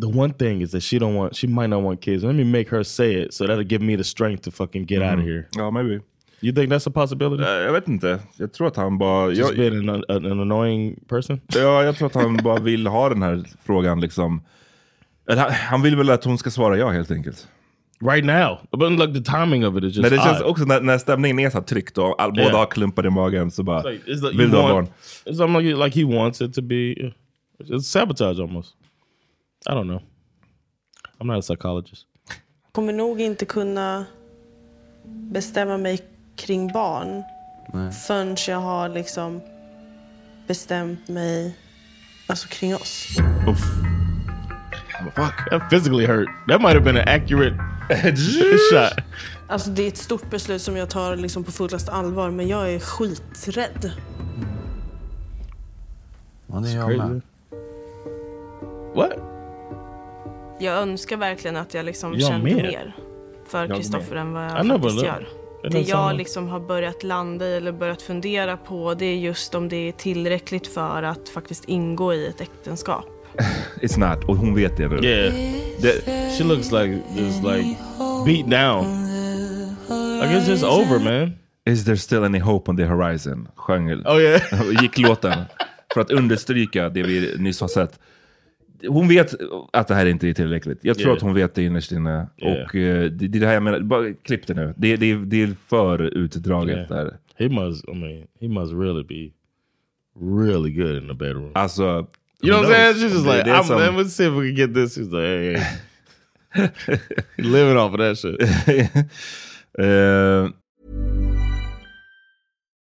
S3: The one thing is that she don't want she might not want kids. Let me make her say it so that'll give me the strength to fucking get out of
S2: Mhm.
S3: here.
S2: Ja, maybe.
S3: You think that's a possibility?
S2: jag vet inte. Jag tror att han bara...
S3: Just
S2: jag-
S3: being an, an, an annoying person?
S2: Ja, jag tror att han bara vill ha den här frågan liksom. Eller han- Han vill väl att hon ska svara ja helt enkelt.
S3: Right now. But like the timing of it is just
S2: Men det känns
S3: odd.
S2: också när, när stämningen är så här tryckt och all,
S3: Yeah.
S2: båda har klumpar i magen så bara,
S3: It's like, it's like you
S2: Ah. vill du ha barn?
S3: want- It's almost like, like he wants it to be it's sabotage almost. I don't know. I'm not a psychologist.
S9: kommer nog inte kunna bestämma mig kring barn
S3: Nej.
S9: förrän jag har liksom bestämt mig alltså kring oss.
S3: Fuck. That physically hurt. That might have been an *laughs* accurate shot.
S9: Alltså det är ett stort beslut som jag tar liksom på fullaste allvar men jag är skiträdd.
S10: Ja, det är jag med.
S9: Jag önskar verkligen att jag liksom
S10: Jag
S9: kände
S10: med.
S9: mer för
S10: Jag
S9: Kristoffer
S10: med.
S9: än vad
S10: I
S9: jag
S10: never
S9: faktiskt
S10: knew.
S9: gör.
S10: It
S9: Det
S10: doesn't sound
S9: jag
S10: like-
S9: liksom har börjat landa i eller börjat fundera på det är just om det är tillräckligt för att faktiskt ingå i ett äktenskap.
S2: It's not. Och hon vet det nu.
S3: Yeah. she looks like just like beat down. Like it's just over man.
S2: Is there still any hope on the horizon? Sjöng,
S3: *laughs* oh, yeah.
S2: *laughs* gick låten. För att understryka det vi nyss har sett. Hon vet att det här inte är tillräckligt. Jag tror
S3: Yeah.
S2: att hon vet det innerst inne.
S3: Yeah.
S2: Och eh, det, det är det här jag menar. Bara klipp det nu. Det, det, det är för utdraget
S3: Yeah.
S2: där.
S3: He must I mean he must really be really good in the bedroom.
S2: Alltså,
S3: You know what I'm saying? She's just
S2: Det-
S3: like,
S2: det är
S3: I'm,
S2: som-
S3: let's see if we can get this. She's like, hey, hey. *laughs* living off of that shit. *laughs*
S2: Eh,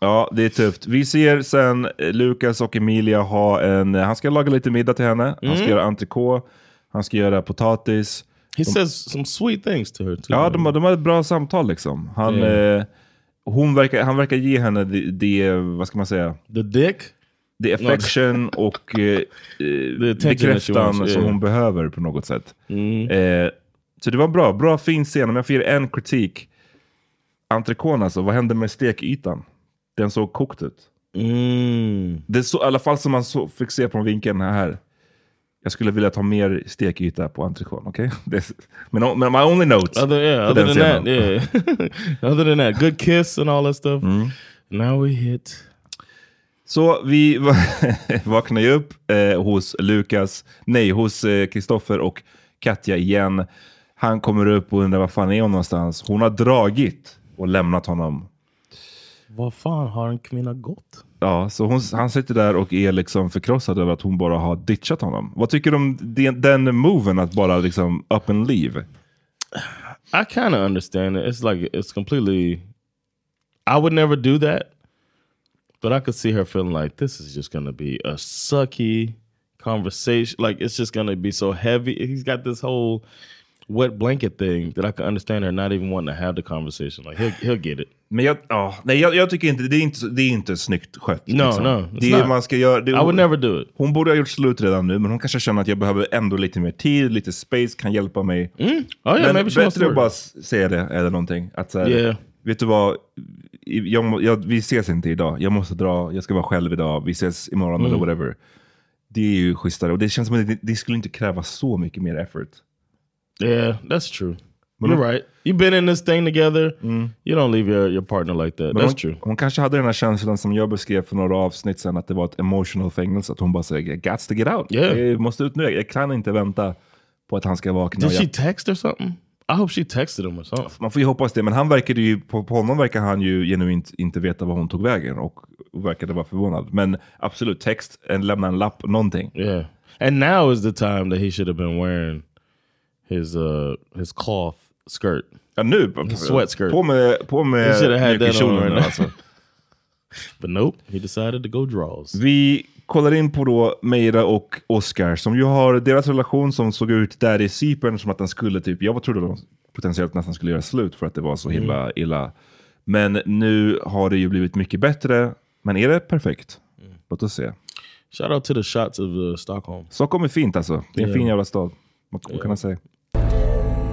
S2: Ja, det är tufft. Vi ser sen eh, Lukas och Emilia ha en... eh, Han ska laga lite middag till henne. Han ska
S3: Mm.
S2: göra entrecote. Han ska göra potatis.
S3: He says some sweet things to her too. Mm.
S2: Ja, de, har- de har ett bra samtal liksom. Han,
S3: Yeah.
S2: eh, hon verkar, han verkar ge henne det, det, vad ska man säga?
S3: The dick?
S2: The
S3: No.
S2: affection
S3: *laughs*
S2: och eh, eh,
S3: that she
S2: bekräftan
S3: wants,
S2: som
S3: yeah. Mm.
S2: hon behöver på något sätt. Eh, så det var bra, bra fin scen. Om jag får ge en kritik. Entrecôten alltså, vad hände med stekytan? Den såg kokt ut.
S3: Mm.
S2: Det så, I alla fall som man så, fick se på vinkeln här. Jag skulle vilja ta mer stekyta på entrecote, okej? *laughs* Det- Men okay? my only note.
S3: Other, yeah,
S2: för
S3: other
S2: den
S3: than that,
S2: scenen.
S3: yeah. *laughs* other than that, good kiss and all that stuff.
S2: Mm.
S3: Now we hit.
S2: Så vi *laughs* va- vaknar ju upp eh, hos Lukas, nej, hos eh, Kristoffer och Katja igen. Han kommer upp och undrar var fan är hon någonstans? Hon har dragit och lämnat honom.
S3: Vad fan har en kvinna gått?
S2: Ja, så hon, han sitter där och är liksom förkrossad över att hon bara har ditchat honom. Vad tycker du om den, den moven att bara liksom up and leave?
S3: I kind of understand it. It's like it's completely. I would never do that, but I could see her feeling like this is just gonna be a sucky conversation. Like it's just gonna be so heavy. He's got this whole wet blanket thing that I can understand her not even wanting to have the conversation. Like he'll he'll get it.
S2: Men jag, ja, nej, jag, jag tycker inte det, är inte, så- det är inte snyggt skött.
S3: No, no, it's
S2: liksom. det är,
S3: not.
S2: man ska göra, det,
S3: I would never do it.
S2: Hon borde ha gjort slut redan nu, men hon kanske känner att jag behöver ändå lite mer tid, lite space, kan hjälpa mig.
S3: Mm. Oh, yeah,
S2: men
S3: maybe she wants
S2: bättre
S3: to
S2: att bara s- säga det eller någonting. Att så här,
S3: Yeah.
S2: Vet du vad, I- jag, må- jag, vi ses inte idag. Jag måste dra, jag ska vara själv idag. Vi ses imorgon
S3: Mm.
S2: eller whatever. Det är ju schysstare och det känns som att det, det skulle inte kräva så mycket mer effort.
S3: Yeah, that's true.
S2: Men
S3: You're
S2: hon-
S3: right. You've been in this thing together. You don't leave your your partner like that.
S2: Men
S3: that's
S2: hon,
S3: true.
S2: hon kanske hade den här känslan som jag beskrev för några avsnitt sedan, att det var ett emotional fängelse. Att hon bara säger, I gots to get out.
S3: Yeah.
S2: Jag måste ut nu. Jag kan inte vänta på att han ska vakna.
S3: Did
S2: och jag-
S3: she text or something? I hope she texted him or something.
S2: Man får ju hoppas det, men han verkade ju, på, på honom verkar han ju genuint inte veta var hon tog vägen och verkade vara förvånad. Men absolut, text, en, lämna en lapp, någonting.
S3: Yeah. And now is the time that he should have been wearing his uh his cloth skirt.
S2: A noob
S3: his sweat skirt.
S2: På med, på med
S3: he should have had that on
S2: mjölkkjolen
S3: right
S2: nu,
S3: now.
S2: alltså.
S3: *laughs* But nope, he decided to go draws.
S2: Vi kollar in på då Meira och Oscar som ju har deras relation som såg ut där i Cypern som att den skulle typ, jag trodde de potentiellt nästan skulle göra slut för att det var så himla
S3: Mm.
S2: illa. Men nu har det ju blivit mycket bättre. Men är det perfekt? Låt oss se.
S3: Shout out to the shots of uh, Stockholm.
S2: Stockholm är fint alltså. Det är en
S3: Yeah.
S2: fin jävla stad. Vad vad kan man säga?
S3: *laughs*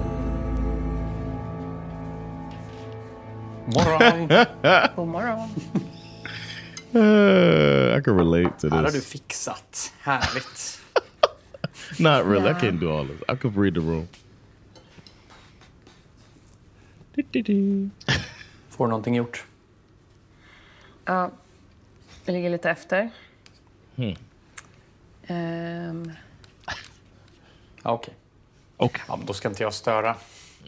S12: God morgon.
S3: Uh, I can relate to
S12: Här har du
S3: this.
S12: fixat. Härligt.
S3: Not really. I
S12: Yeah.
S3: can't do all of this. I could read the room.
S12: Får någonting gjort.
S6: Ja, jag ligger lite efter.
S3: Hmm.
S12: Mm.
S6: Ehm,
S12: Ja, Okej.
S2: Okay.
S12: Ja, men då ska inte jag störa.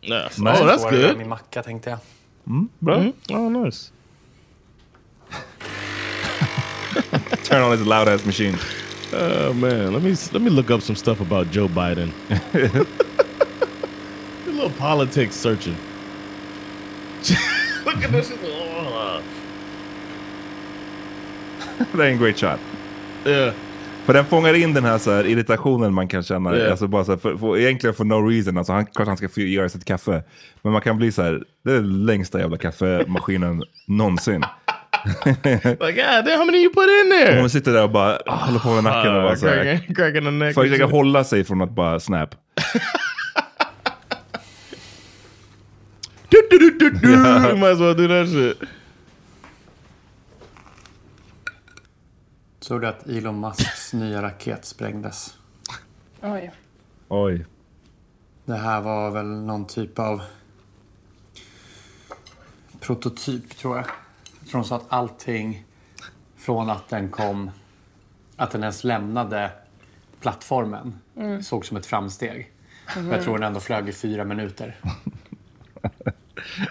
S3: Nej.
S12: Så
S3: Oh, that's
S12: får jag
S3: good.
S12: Min macka tänkte jag.
S2: Mm, bra.
S3: Mm. Oh, nice.
S2: *laughs* Turn on this loud ass machine.
S3: Oh man, let me let me look up some stuff about Joe
S2: *laughs*
S3: Biden. A little politics searching. Look at this.
S2: *laughs* Det är en great shot.
S3: Yeah.
S2: För den fångar in den här, så här irritationen man kan känna.
S3: Yeah.
S2: Alltså bara så här, för, för, egentligen for no reason. Alltså han, klart han ska få göra
S4: *laughs*
S2: sitt kaffe. Men man kan bli så här, det är den längsta jävla kaffemaskinen någonsin.
S3: like, God damn, how many you put in there? Uh,
S2: Hon sitter där och bara "Ah, håller
S4: Ah,
S2: på med nacken och bara så här.
S3: cracking, cracking the neck.
S2: För att försöka hålla sig från att
S4: *laughs*
S2: bara snap.
S3: You might as well do that shit.
S4: Såg du att Elon Musks nya raket sprängdes?
S5: Oj.
S2: Oj.
S4: Det här var väl någon typ av prototyp, tror jag. Jag tror de sa att allting från att den kom, att den ens lämnade plattformen,
S5: Mm.
S4: såg som ett framsteg.
S5: Mhm.
S4: Jag tror den ändå flög i fyra minuter.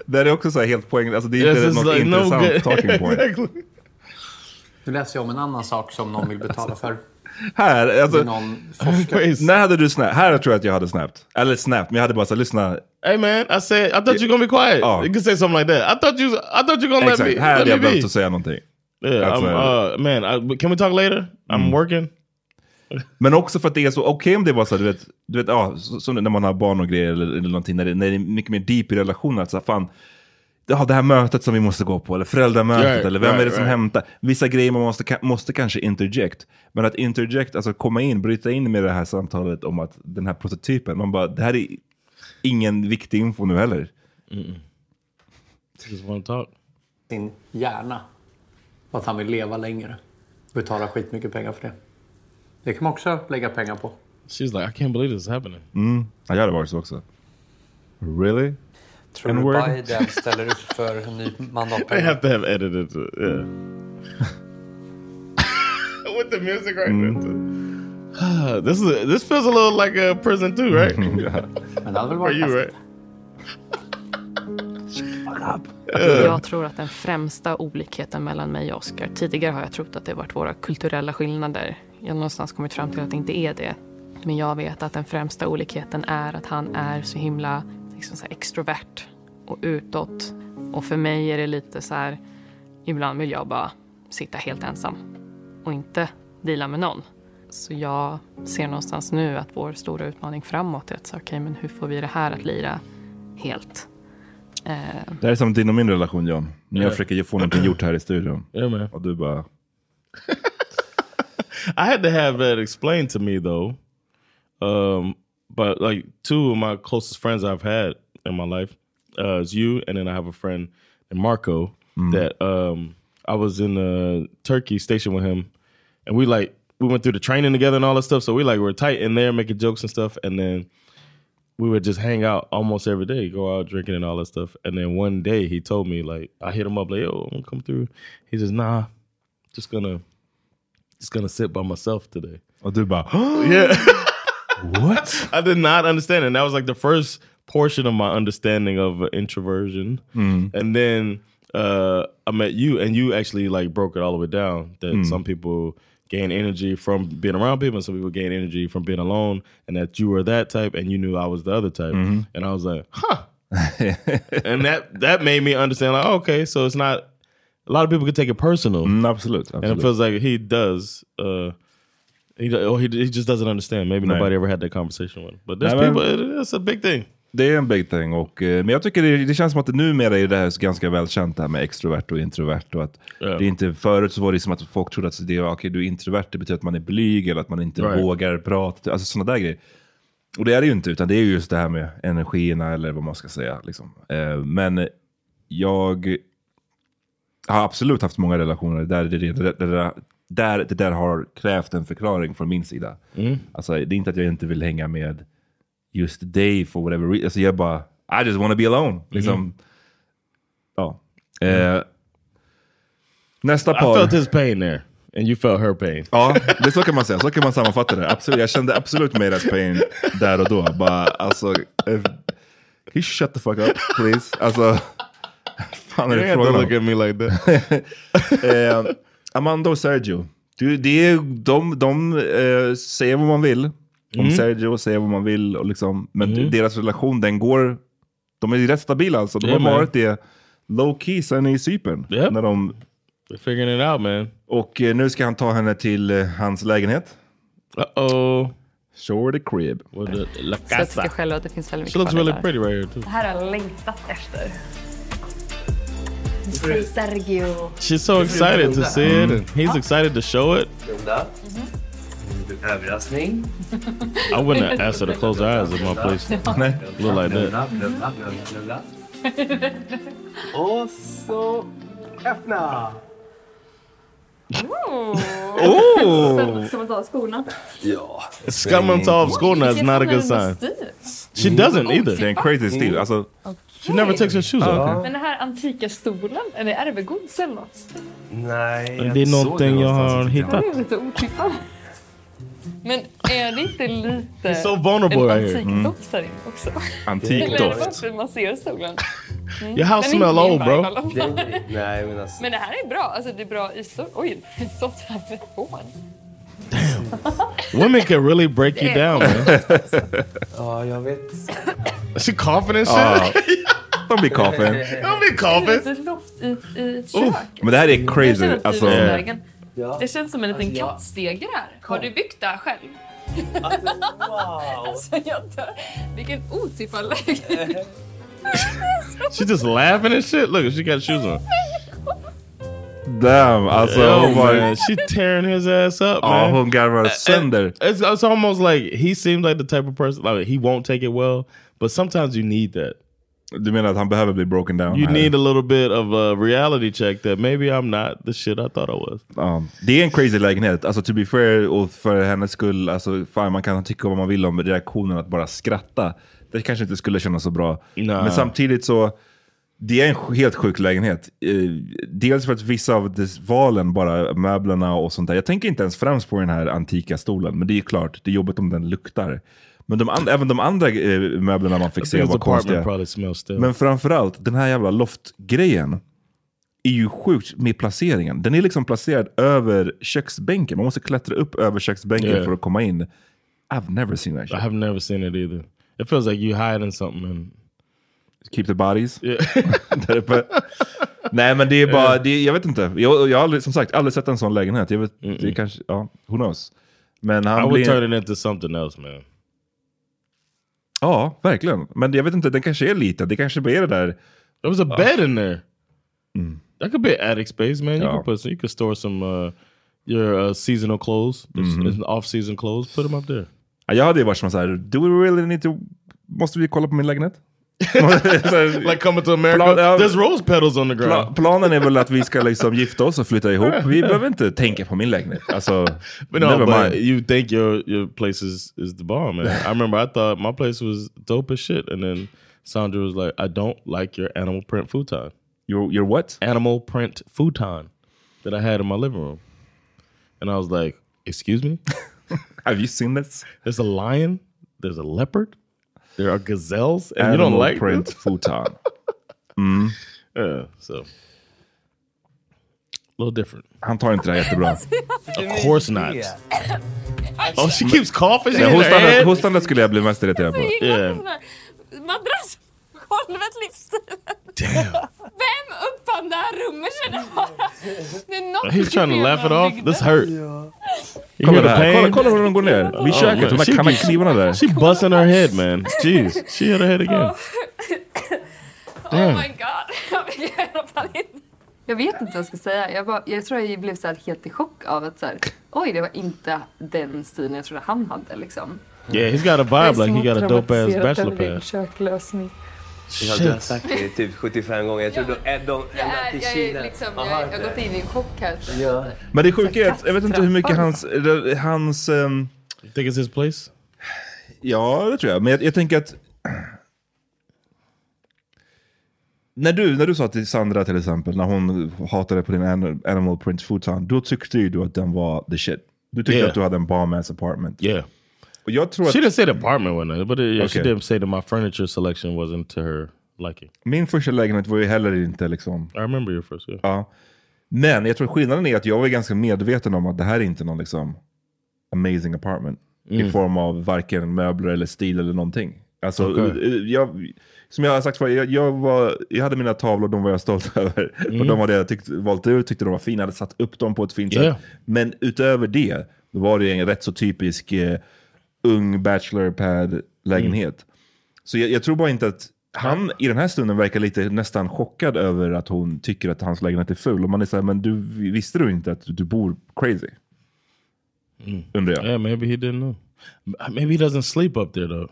S2: Det här är också så här helt poäng. Alltså det är
S4: Yes,
S2: inte
S4: it's
S2: något
S4: like no
S2: intressant
S4: good.
S2: talking
S4: *laughs*
S2: point.
S4: Exactly. Nu läser jag om en annan sak som någon vill betala för.
S2: Här, alltså.
S4: Det är någon
S2: *laughs*
S4: forskare.
S2: När hade du snap? Här tror jag att jag hade snapped. Eller snap, men jag hade bara så här, lyssna.
S3: Hey man, I said I thought you were gonna be quiet.
S2: Oh.
S3: You could say something like that. I thought you I thought you were gonna
S2: Exakt,
S3: let me.
S2: här
S3: let
S2: hade jag
S3: me be.
S2: behövt att säga någonting.
S3: Yeah, I'm,
S2: Alltså-
S3: uh, man, I, can we talk later? I'm
S2: Mm.
S3: working.
S2: Men också för att det är så okej om det var så här, du vet, du vet ja, så- som när man har barn och grejer eller, eller någonting, när det, när det är mycket mer deep i relationen. Att så här, fan, ja, det här mötet som vi måste gå på, eller föräldramötet,
S3: Right,
S2: eller vem är det
S3: right,
S2: som
S3: right.
S2: hämtar? Vissa grejer man måste, ka- måste kanske interject. Men att interject, alltså komma in, bryta in med det här samtalet om att den här prototypen, man bara, det här är ingen viktig info nu heller.
S3: Just wanna talk.
S4: Sin hjärna. Och att han vill leva längre. Betalar skitmycket pengar för det. Det kan man också lägga pengar på.
S3: She's like, I can't believe this is happening.
S2: Mm. Ja, jag hade varit så också. Really?
S4: Tror du
S2: N-word?
S4: *laughs* Biden ställer upp för en ny
S3: I
S4: mandatperiod?
S3: have to have edited. it, Yeah. With the music right there. *sighs* this is this feels a little like a prison too, right? For you, right?
S5: Alltså, Jag tror att den främsta olikheten mellan mig och Oscar, tidigare har jag trott att det varit våra kulturella skillnader. Jag har någonstans kommit fram till att det inte är det. Men jag vet att den främsta olikheten är att han är så himla liksom så här extrovert och utåt. Och för mig är det lite så här, ibland vill jag bara sitta helt ensam och inte deala med någon. Så jag ser någonstans nu att vår stora utmaning framåt är att säga okej, men hur får vi det här att lira helt? Eh,
S2: Det här är som din och min relation John. När
S3: Ja.
S2: jag försöker få någonting gjort här i studion.
S3: Ja, men.
S2: Och du bara...
S3: I had to have that explained to me though. Um, but like two of my closest friends I've had in my life uh, is you, and then I have a friend, Marco,
S2: Mm.
S3: that um, I was in the Turkey station with him, and we like we went through the training together and all that stuff. So we like were tight in there, making jokes and stuff, and then we would just hang out almost every day, go out drinking and all that stuff. And then one day he told me like I hit him up like, "Yo, I'm gonna come through." He says, "Nah, just gonna." just gonna sit by myself today.
S2: I'll
S3: *gasps*
S2: do about
S3: yeah.
S2: what?
S3: I did not understand, and that was like the first portion of my understanding of uh, introversion.
S2: Mm.
S3: And then uh, I met you, and you actually like broke it all the way down that
S2: Mm.
S3: some people gain energy from being around people, and some people gain energy from being alone, and that you were that type, and you knew I was the other type,
S2: Mhm.
S3: and I was like,
S2: *laughs*
S3: huh. and that that made me understand like oh, okay, so it's not. A lot of people can take it personal.
S2: absolutely,
S3: And it
S2: Mm, absolute.
S3: feels like he does. Uh, he, do- or he, he just doesn't understand. Maybe
S2: Nej.
S3: nobody ever had that conversation with him. But there's
S2: Nej, men-
S3: people, it, it's a alltså big thing.
S2: Det är en big thing. Och, eh, men jag tycker det, det känns som att det numera är det här ganska välkänt det här med extrovert och introvert. Och att
S3: Ja.
S2: det är inte, förut så var det som att folk trodde att det var, okay, du är introvert, det betyder att man är blyg eller att man inte
S3: Right.
S2: vågar prata. Alltså sådana där grejer. Och det är det ju inte, utan det är ju just det här med energierna eller vad man ska säga. Liksom. Eh, men jag har absolut haft många relationer där det, det, det, det, där, det där har krävt en förklaring från min sida.
S3: Mm.
S2: Alltså, det är inte att jag inte vill hänga med just dig for whatever reason. Alltså, jag bara, I just wanna be alone.
S3: Mm.
S2: Liksom. Ja. Eh, nästa
S3: I
S2: par.
S3: felt his pain there. And you felt her pain.
S2: Ja, det så kan man säga. Så kan man sammanfatta det. Absolut, jag kände absolut Meiras pain där och då. Bara, alltså, if, can you shut the fuck up please? Alltså, fan är
S3: You
S2: det
S3: ain't have
S2: frågan
S3: to
S2: om?
S3: look at me like that.
S2: *laughs* eh, Amanda och Sergio. Du, det är, de de eh, säger vad man vill om
S3: Mm.
S2: Sergio, säger vad man vill. Och liksom, men
S3: Mm.
S2: deras relation, den går... De är rätt stabila alltså. De
S3: Yeah,
S2: har
S3: man.
S2: varit det low key sen i Cypern. När de,
S3: They're figuring it out man.
S2: och eh, nu ska han ta henne till eh, hans lägenhet.
S3: Uh-oh.
S2: Show her the crib.
S3: La
S6: Så jag tycker själv att det finns väldigt mycket
S2: She looks
S6: fördelar.
S2: really pretty right here, too.
S6: Det här har jag längtat efter.
S13: Du får ju Sergio.
S3: She's so excited to see it, and he's excited to show it.
S13: Blunda.
S6: Mm-hmm.
S13: Överraskning.
S3: I wouldn't have asked her to close her eyes in my
S14: *laughs*
S3: place. Look like
S13: Blunda,
S3: that.
S13: blunda, blunda, blunda. Och så öppna.
S3: Ooh.
S13: Ska man ta skorna? Ja.
S3: Ska man ta av skorna is not a good sign. Mm-hmm. She doesn't either. Mm-hmm.
S2: Det är en crazy stil. Alltså,
S3: She never takes her shoes off.
S13: Men den här antika stolen, är det ärvegods eller något?
S2: Nej,
S3: Det är jag såg någonting det jag någonstans. har hittat.
S13: Den är lite otippad.
S6: Men är det inte lite...
S13: He's so vulnerable
S6: en
S13: right here.
S3: Mm.
S6: antikdoft här inne också?
S13: Antikdoft.
S6: Eller är det bara för att man ser stolen? Mm.
S3: Your house
S6: Den är inte
S3: smell old,
S6: min
S3: bro.
S6: vibe i alla fall.
S13: Nej, men alltså.
S6: Men det här är bra. Alltså det är bra ytor. Oj, *laughs* det har stått här med hån.
S3: *laughs* Women can really break you down, man.
S13: Ja, jag vet.
S3: Is she coughing and
S2: Ja.
S3: shit? *laughs*
S2: de blir kapen.
S3: Don't be coughing.
S6: Det är lite doft i, i ett kök.
S2: Uff, men det här är crazy. Alltså,
S6: Det känns som en liten
S13: Alltså,
S6: kattstege
S13: jag-
S6: där. Har du byggt det här själv? Alltså, *laughs* wow! jag dör. Vilken otippad *laughs* lägenhet.
S3: She just laughing and shit. Look, she got shoes on.
S2: damn. Alltså,
S3: Yo,
S2: oh my-
S3: man, she tearing his ass up,
S2: Ja,
S3: man.
S2: hon garvar sönder.
S3: It's, it's almost like he seems like the type of person like he won't take it well, but sometimes you need that.
S2: Du menar att han behöver bli broken down?
S3: You
S2: här?
S3: need a little bit of a reality check that maybe I'm not the shit I thought I was.
S2: Ja, det är en crazy lägenhet. Alltså to be fair och för hennes skull, alltså, fan, man kan tycka vad man vill om reaktionen att bara skratta. Det kanske inte skulle kännas så bra. Men samtidigt så, det är en sj- helt sjuk lägenhet. Eh, Dels för att vissa av dess valen, bara möblerna och sånt där. Jag tänker inte ens främst på den här antika stolen, men det är ju klart, det är jobbigt om den luktar. Men de and- även de andra eh, möblerna man fick
S3: I
S2: se
S3: think his
S2: var
S3: apartment
S2: konstiga.
S3: probably smells still.
S2: Men framförallt, den här jävla loftgrejen är ju sjukt med placeringen. Den är liksom placerad över köksbänken. Man måste klättra upp över köksbänken
S3: Yeah.
S2: för att komma in. *laughs* I've never seen that shit.
S3: I have never seen it either. It feels like you hiding something. And...
S2: Keep the bodies. *laughs*
S3: *laughs*
S2: Där uppe. Nej men det är bara, det, jag vet inte. Jag, jag har aldrig, som sagt aldrig sett en sån lägenhet. Jag vet, det kanske, ja, who knows. Men
S3: I
S2: han
S3: would
S2: blir...
S3: turn it into something else man.
S2: Ja, verkligen. Men jag vet inte, den kanske är liten. Det kanske bara är det där...
S3: There was a
S2: Ja. Mm.
S3: bed in there. That could be an attic space, man. You
S2: Ja.
S3: could put some, you could store some uh, your uh, seasonal clothes,
S2: Mm-hmm.
S3: off season clothes. Put them up
S2: *laughs*
S3: there. *laughs*
S2: Ja, jag hade ju varit som såhär, do we really need to... Måste vi kolla på
S3: *laughs*
S2: min lägenhet?
S3: like coming to America.
S2: ja.
S3: There's rose petals on the ground.
S2: Pla planen är väl att vi ska liksom gifta oss och flytta ihop. Vi behöver inte tänka på min lägenhet. Alltså,
S3: But no,
S2: never
S3: but
S2: mind.
S3: you think your your place is is the bomb,
S2: *laughs*
S3: man. I remember I thought my place was dope as shit, and then Sandra was like, "I don't like your animal print futon."
S2: Your your what?
S3: Animal print futon that I had in my living room, and I was like, "Excuse me,
S2: *laughs* have you seen this?
S3: There's a lion. There's a leopard. There are gazelles, and you
S2: Animal
S3: don't like *laughs*
S2: print
S3: this?"
S2: futon. Mm.
S3: Yeah, so little different.
S2: Han tar inte det här jättebra.
S3: Of course not. Oh, she keeps coughing.
S2: Nej,
S3: in her
S2: hostandet,
S3: head.
S2: hostandet skulle jag bli mest irriterad på.
S13: Madrass, golvet, livsstilen. Vem uppfann det här rummet känner jag bara? Det är något
S3: He's trying to
S13: fel
S3: laugh it
S13: med
S3: off.
S13: byggnaden.
S3: This hurt. You
S2: Kolla
S3: hear the
S2: det här.
S3: pain?
S2: Kolla, kolla hur de går ner. Vid
S3: Oh,
S2: köket.
S3: man.
S2: de
S3: She
S2: här kamma
S3: keeps-
S2: knivarna där.
S3: She busting her head man. Jeez. She hit her head again.
S6: Oh
S15: Oh
S3: Damn.
S6: my
S15: *laughs*
S6: god. Jag vet i alla fall inte.
S13: Jag vet inte vad jag ska säga. Jag, bara, jag tror jag blev så här helt i chock av att så här, oj, det var inte den stilen jag trodde han hade. Liksom.
S3: Yeah, he's got a vibe like he got a dope ass bachelor pass.
S13: Köklösning.
S14: Ja, du har sagt det typ 75 gånger. Jag tror de, eh, de, de
S6: Jag,
S14: ända
S6: är,
S14: till
S6: jag, är
S14: Kina.
S6: liksom, jag, jag har gått in i en chock här.
S14: Ja.
S2: Men det sjuka är att jag vet inte hur mycket hans... eller hans um...
S3: You think it's his place?
S2: Ja, det tror jag. Men jag, jag tänker att... När du, när du sa till Sandra till exempel, när hon hatade på din an- Animal Print Futon, då tyckte ju du att den var the shit. Du tyckte
S3: Yeah.
S2: att du hade en bomb ass apartment.
S3: Yeah.
S2: Och jag tror att...
S3: She didn't say the apartment wasn't, but uh, yeah, she
S2: Okay.
S3: didn't say that my furniture selection wasn't to her liking.
S2: Min första lägenhet var ju heller inte liksom...
S3: I remember your first, yeah.
S2: Ja. Men jag tror skillnaden är att jag var ju ganska medveten om att det här är inte någon liksom amazing apartment.
S3: Mm.
S2: I form av varken möbler eller stil eller någonting. Alltså,
S3: Okej.
S2: eh, jag, som jag har sagt förut, jag, jag, var, jag hade mina tavlor, de var jag stolt *laughs* över.
S3: Mm.
S2: Och de hade jag tyckt, valt ut, tyckte de var fina, hade satt upp dem på ett fint
S3: Yeah.
S2: sätt. Men utöver det, då var det en rätt så typisk eh, ung bachelor pad lägenhet. Så jag, jag tror bara inte att han i den här stunden verkar lite nästan chockad över att hon tycker att hans lägenhet är ful. Och man är så här, men du visste du inte att du bor crazy? Undrar jag.
S3: Yeah, maybe he didn't know. Uh, Maybe he doesn't sleep up there though.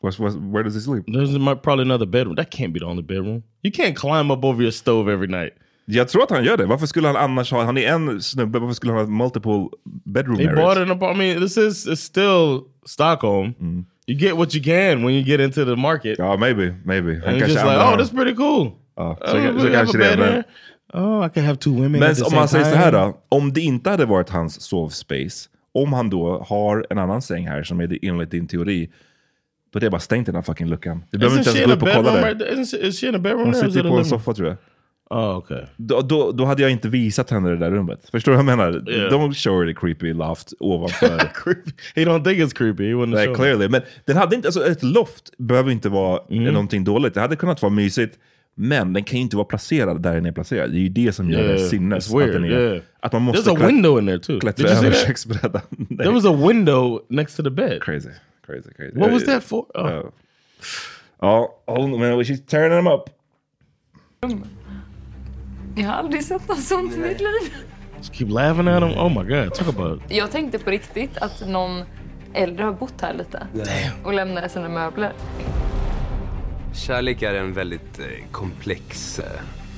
S2: What's, what's, where does he sleep?
S3: There's my, probably another bedroom. That can't be the only bedroom. You can't climb up over your stove every night.
S2: Jag tror att han gör det. Varför skulle han annars ha, han är en snubbe, varför skulle han ha multiple bedroom
S3: They
S2: areas?
S3: bought an apartment. I mean, this is it's still Stockholm. You get what you can when you get into the market.
S2: Mm. Oh, maybe, maybe.
S3: And you're
S2: kanske
S3: just like,
S2: använder-
S3: oh, that's pretty cool.
S2: Ja,
S3: Oh,
S2: så,
S3: we
S2: så
S3: have
S2: kanske
S3: a
S2: det är.
S3: bed
S2: Men,
S3: here. Oh, I can have two women.
S2: Men
S3: at the
S2: om man
S3: same
S2: säger så här
S3: time.
S2: då. Om det inte hade varit hans sovspace. Om han då har en annan säng här som är det- enligt din teori. Då är det bara stängt den här fucking luckan. Du behöver
S3: Isn't
S2: inte
S3: she
S2: ens
S3: in
S2: gå
S3: a
S2: upp och kolla
S3: bedroom
S2: där.
S3: right there? Isn't she- Is she in a bedroom
S2: Hon
S3: there? or is it
S2: sitter
S3: a
S2: på en
S3: living room?
S2: soffa tror jag.
S3: Oh, okay.
S2: Då, då, då hade jag inte visat henne det där rummet. Förstår du vad jag menar?
S3: Yeah.
S2: Don't show her the creepy loft
S3: *laughs*
S2: ovanför.
S3: He don't think it's creepy. He wouldn't
S2: Nej,
S3: show it.
S2: clearly. Men den hade inte, alltså ett loft behöver inte vara
S3: Mm.
S2: någonting dåligt. Det hade kunnat vara mysigt. Men den kan ju inte vara placerad där den är placerad. Det är ju det som gör det
S3: Yeah,
S2: sinnes.
S3: it's weird,
S2: att, den är,
S3: yeah.
S2: att man måste
S3: There's a
S2: klätt-
S3: window in there too.
S2: klättra
S3: Did you see
S2: över
S3: that?
S2: köksbrädan. Nej.
S3: There was a window next to the bed.
S2: Crazy, crazy, crazy.
S3: What was that for? Oh.
S2: Ja. Ja, hon, men she's tearing them up.
S15: Jag har aldrig sett något sånt i mitt liv.
S3: Just keep laughing at him. Oh my god, talk about
S15: Jag tänkte på riktigt att någon äldre har bott här lite och lämnat sina möbler.
S14: Kärlek är en väldigt eh, komplex eh,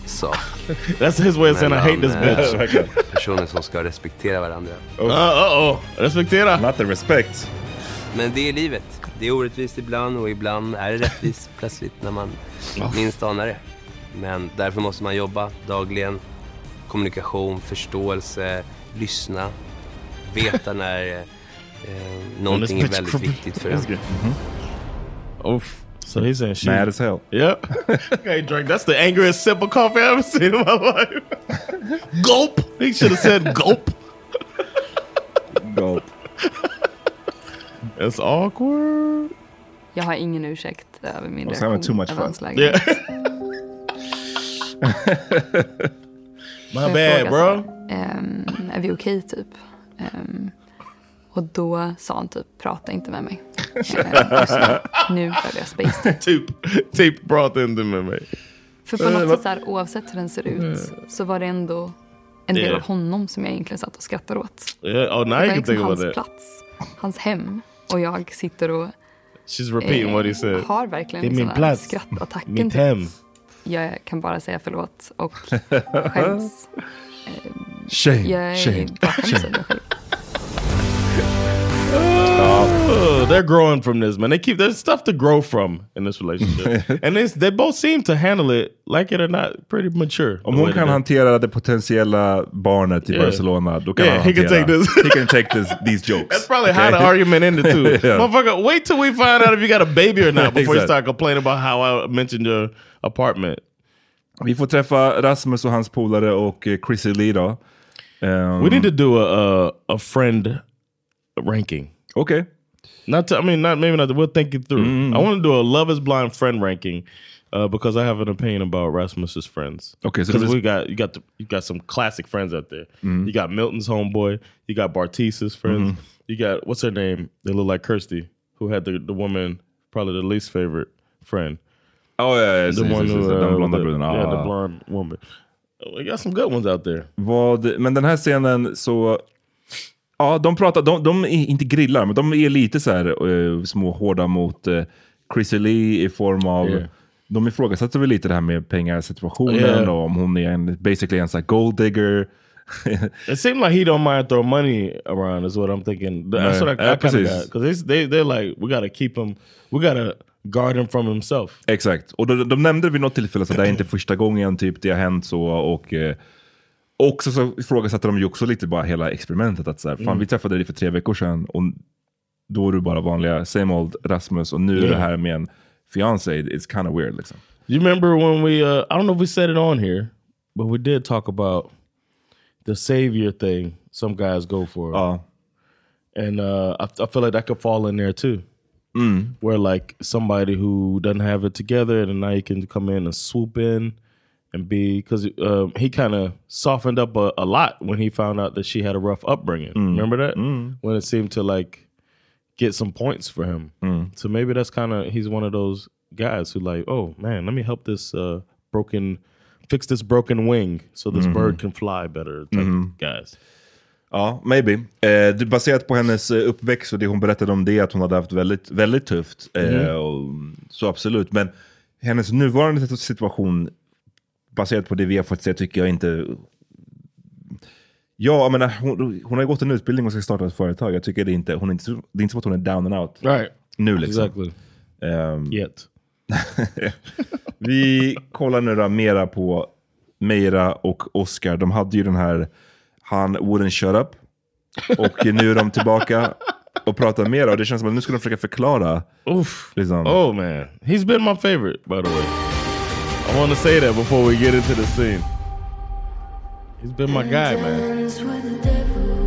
S14: sak.
S3: *laughs* That's his way of saying I hate this
S14: Mellan,
S3: bitch.
S14: eh,
S3: Verkligen.
S14: personer som ska respektera varandra.
S3: Uh, uh-oh. Respektera.
S2: Not the respect.
S14: Men det är livet. Det är orättvist ibland och ibland är det rättvist plötsligt när man minst anar det. Men därför måste man jobba dagligen. Kommunikation, förståelse, lyssna. Veta när eh, eh, någonting är
S3: bitch
S14: väldigt
S3: crying.
S14: viktigt för en.
S3: Oof. So he's saying shit.
S2: Mad as hell.
S3: Yep. okay, drink. That's the angriest sip of coffee I've ever seen in my life. gulp. He should have said gulp.
S2: gulp.
S3: It's awkward.
S15: Jag har ingen ursäkt över min
S3: I was having too
S15: reaktion
S3: much
S15: över
S3: fun.
S15: hans *laughs* lägenhet.
S3: My
S15: Får jag
S3: bad,
S15: fråga
S3: bro.
S15: så här, ehm, är vi okej typ? Ehm, och då sa han typ, prata inte med
S3: *laughs*
S15: mig. Ehm, just nu. nu behöver jag space.
S3: Typ. Typ brought in the memory.
S15: För på
S3: Eh,
S6: Eh,
S15: något sätt så här, oavsett hur den ser ut så var det ändå en del
S3: Yeah.
S15: av honom som jag egentligen satt och skrattade åt.
S3: Yeah, oh, now
S15: det var
S3: you can think
S15: liksom
S3: about
S15: hans
S3: that.
S15: plats, hans hem. Och jag sitter och
S3: She's repeating
S15: eh,
S3: what he said.
S15: har verkligen liksom
S3: Det är
S15: en
S3: min
S15: sån här
S3: plats.
S15: skrattattacken.
S3: Mitt
S15: typ.
S3: hem.
S15: Jag kan bara säga förlåt
S3: *laughs*
S15: och skäms. Eh,
S2: Shame,
S15: jag är
S2: shame,
S15: bara skäms
S2: shame.
S15: över mig själv.
S3: Oh, they're growing from this, man. They keep there's stuff to grow from in this
S2: *laughs*
S3: relationship, and it's, they both seem to handle it, like it or not, pretty mature. the
S2: Om hon
S3: way they
S2: kan
S3: do.
S2: hantera det potentiella barnet i
S3: Yeah.
S2: Barcelona, då kan
S3: Yeah,
S2: han
S3: Eh. he can
S2: hantera...
S3: take this.
S2: he can take this, these jokes.
S3: That's probably how the argument ended too.
S2: *laughs* Yeah.
S3: Motherfucker, wait till we find out if you got a baby or
S2: *laughs*
S3: not before you
S2: Exakt.
S3: start complaining about how I mentioned your apartment.
S2: Vi får träffa Rasmus och hans polare och eh, Chrissy Lee då. Um,
S3: We need to do a a, a friend ranking.
S2: Okay. Mm-hmm.
S3: Not to, I mean not maybe not we'll think it through. I want to do a love is blind friend ranking uh, because I have an opinion about Rasmus's friends.
S2: Okay, so
S3: because
S2: this-
S3: we got you got the, you got some classic friends out there.
S2: Mm.
S3: You got Milton's homeboy, you got Bartisa's friends,
S2: Mm-hmm.
S3: you got what's her name? They look like Kirsty, who had the the woman probably the least favorite friend.
S2: Oh yeah, yeah,
S3: the
S2: yes,
S3: one
S2: yes,
S3: who,
S2: yes, den
S3: uh,
S2: blonda
S3: the-
S2: bruden. Ah.
S3: yeah, the blonde woman. Oh, We got some good ones out there.
S2: Vad, men den här scenen så... Ja, de pratar, de, de är inte grillar, men de är lite så här eh, små hårda mot eh, Chrissy Lee i form av...
S3: Yeah.
S2: De ifrågasätter väl lite det här med pengasituationen
S3: Yeah.
S2: och om hon är en, basically en så här gold digger. *laughs*
S3: It seemed like he don't mind throwing money around. Is what I'm thinking. That's
S2: Nej,
S3: what I,
S2: ja,
S3: I kind
S2: precis.
S3: of because they they they're like we gotta keep him, we gotta guard him from himself.
S2: Exakt. Och de, de nämnde vid något tillfälle så det är inte första gången typ det har hänt så. Och, eh, och så, så ifrågasatte de ju också lite bara hela experimentet. Att så här, fan,
S3: Mm.
S2: Vi träffade dig för tre veckor sedan och då är du bara vanliga same old Rasmus och nu är
S3: Yeah.
S2: det här med en fiancé. It's kind of weird liksom.
S3: You remember when we? Uh, I don't know if we said it on here, but we did talk about the savior thing. Some guys go for.
S2: Oh,
S3: and uh, I, I feel like that could fall in there too. Where like somebody who doesn't have it together, and now you can come in and swoop in and be because um, he kind of softened up a, a lot when he found out that she had a rough upbringing.
S2: Mm.
S3: Remember that
S2: Mm.
S3: when
S2: Mm.
S3: it seemed to like get some points for him. So maybe that's kind of he's one of those guys who like, oh man, let me help this uh, broken, fix this broken wing so this
S2: Mhm.
S3: bird can fly better. Type
S2: Mhm.
S3: guys.
S2: Ja, maybe. Eh, det- baserat på hennes eh, uppväxt och det hon berättade om det, att hon hade haft väldigt, väldigt tufft. Eh,
S3: Mhm.
S2: och, så absolut, men hennes nuvarande situation, baserat på det vi har fått se, tycker jag inte... Ja, jag menar, hon, hon har ju gått en utbildning och ska starta ett företag. Jag tycker det inte, hon är inte, så- det är inte som att hon är down and out
S3: Right.
S2: nu. Liksom.
S3: Exactly.
S2: Ehm,
S3: Yet.
S2: *laughs* vi kollar nu då mera på Meira och Oscar. De hade ju den här han wouldn't shut up. Och nu är de tillbaka och pratar mera. Och det känns som att nu ska de försöka förklara.
S3: Oof.
S2: Liksom.
S3: Oh man, he's been my favorite, by the way. I want to say that before we get into the scene. He's been my guy, man.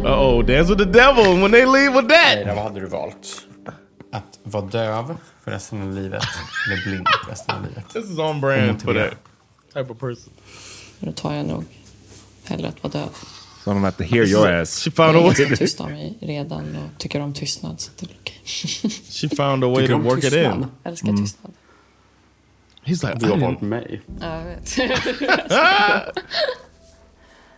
S3: Uh oh, dance with the devil. And when they leave with that,
S4: Vad hade du valt? Att vara döv för resten av livet eller blind för resten av livet?
S3: this is on brand for that
S4: Omotiverad.
S3: type of person.
S5: Då tar jag nog hellre att vara döv.
S2: Så de have to hear your ass.
S3: She found a
S5: jag
S3: way.
S5: är ganska tyst av mig redan och tycker om tystnad. Så det är okej.
S3: She found a way to work it in.
S5: Jag älskar tystnad.
S3: He's like,
S4: Du
S3: I
S4: har
S3: didn't-
S4: valt mig.
S5: *laughs* Ja, jag vet.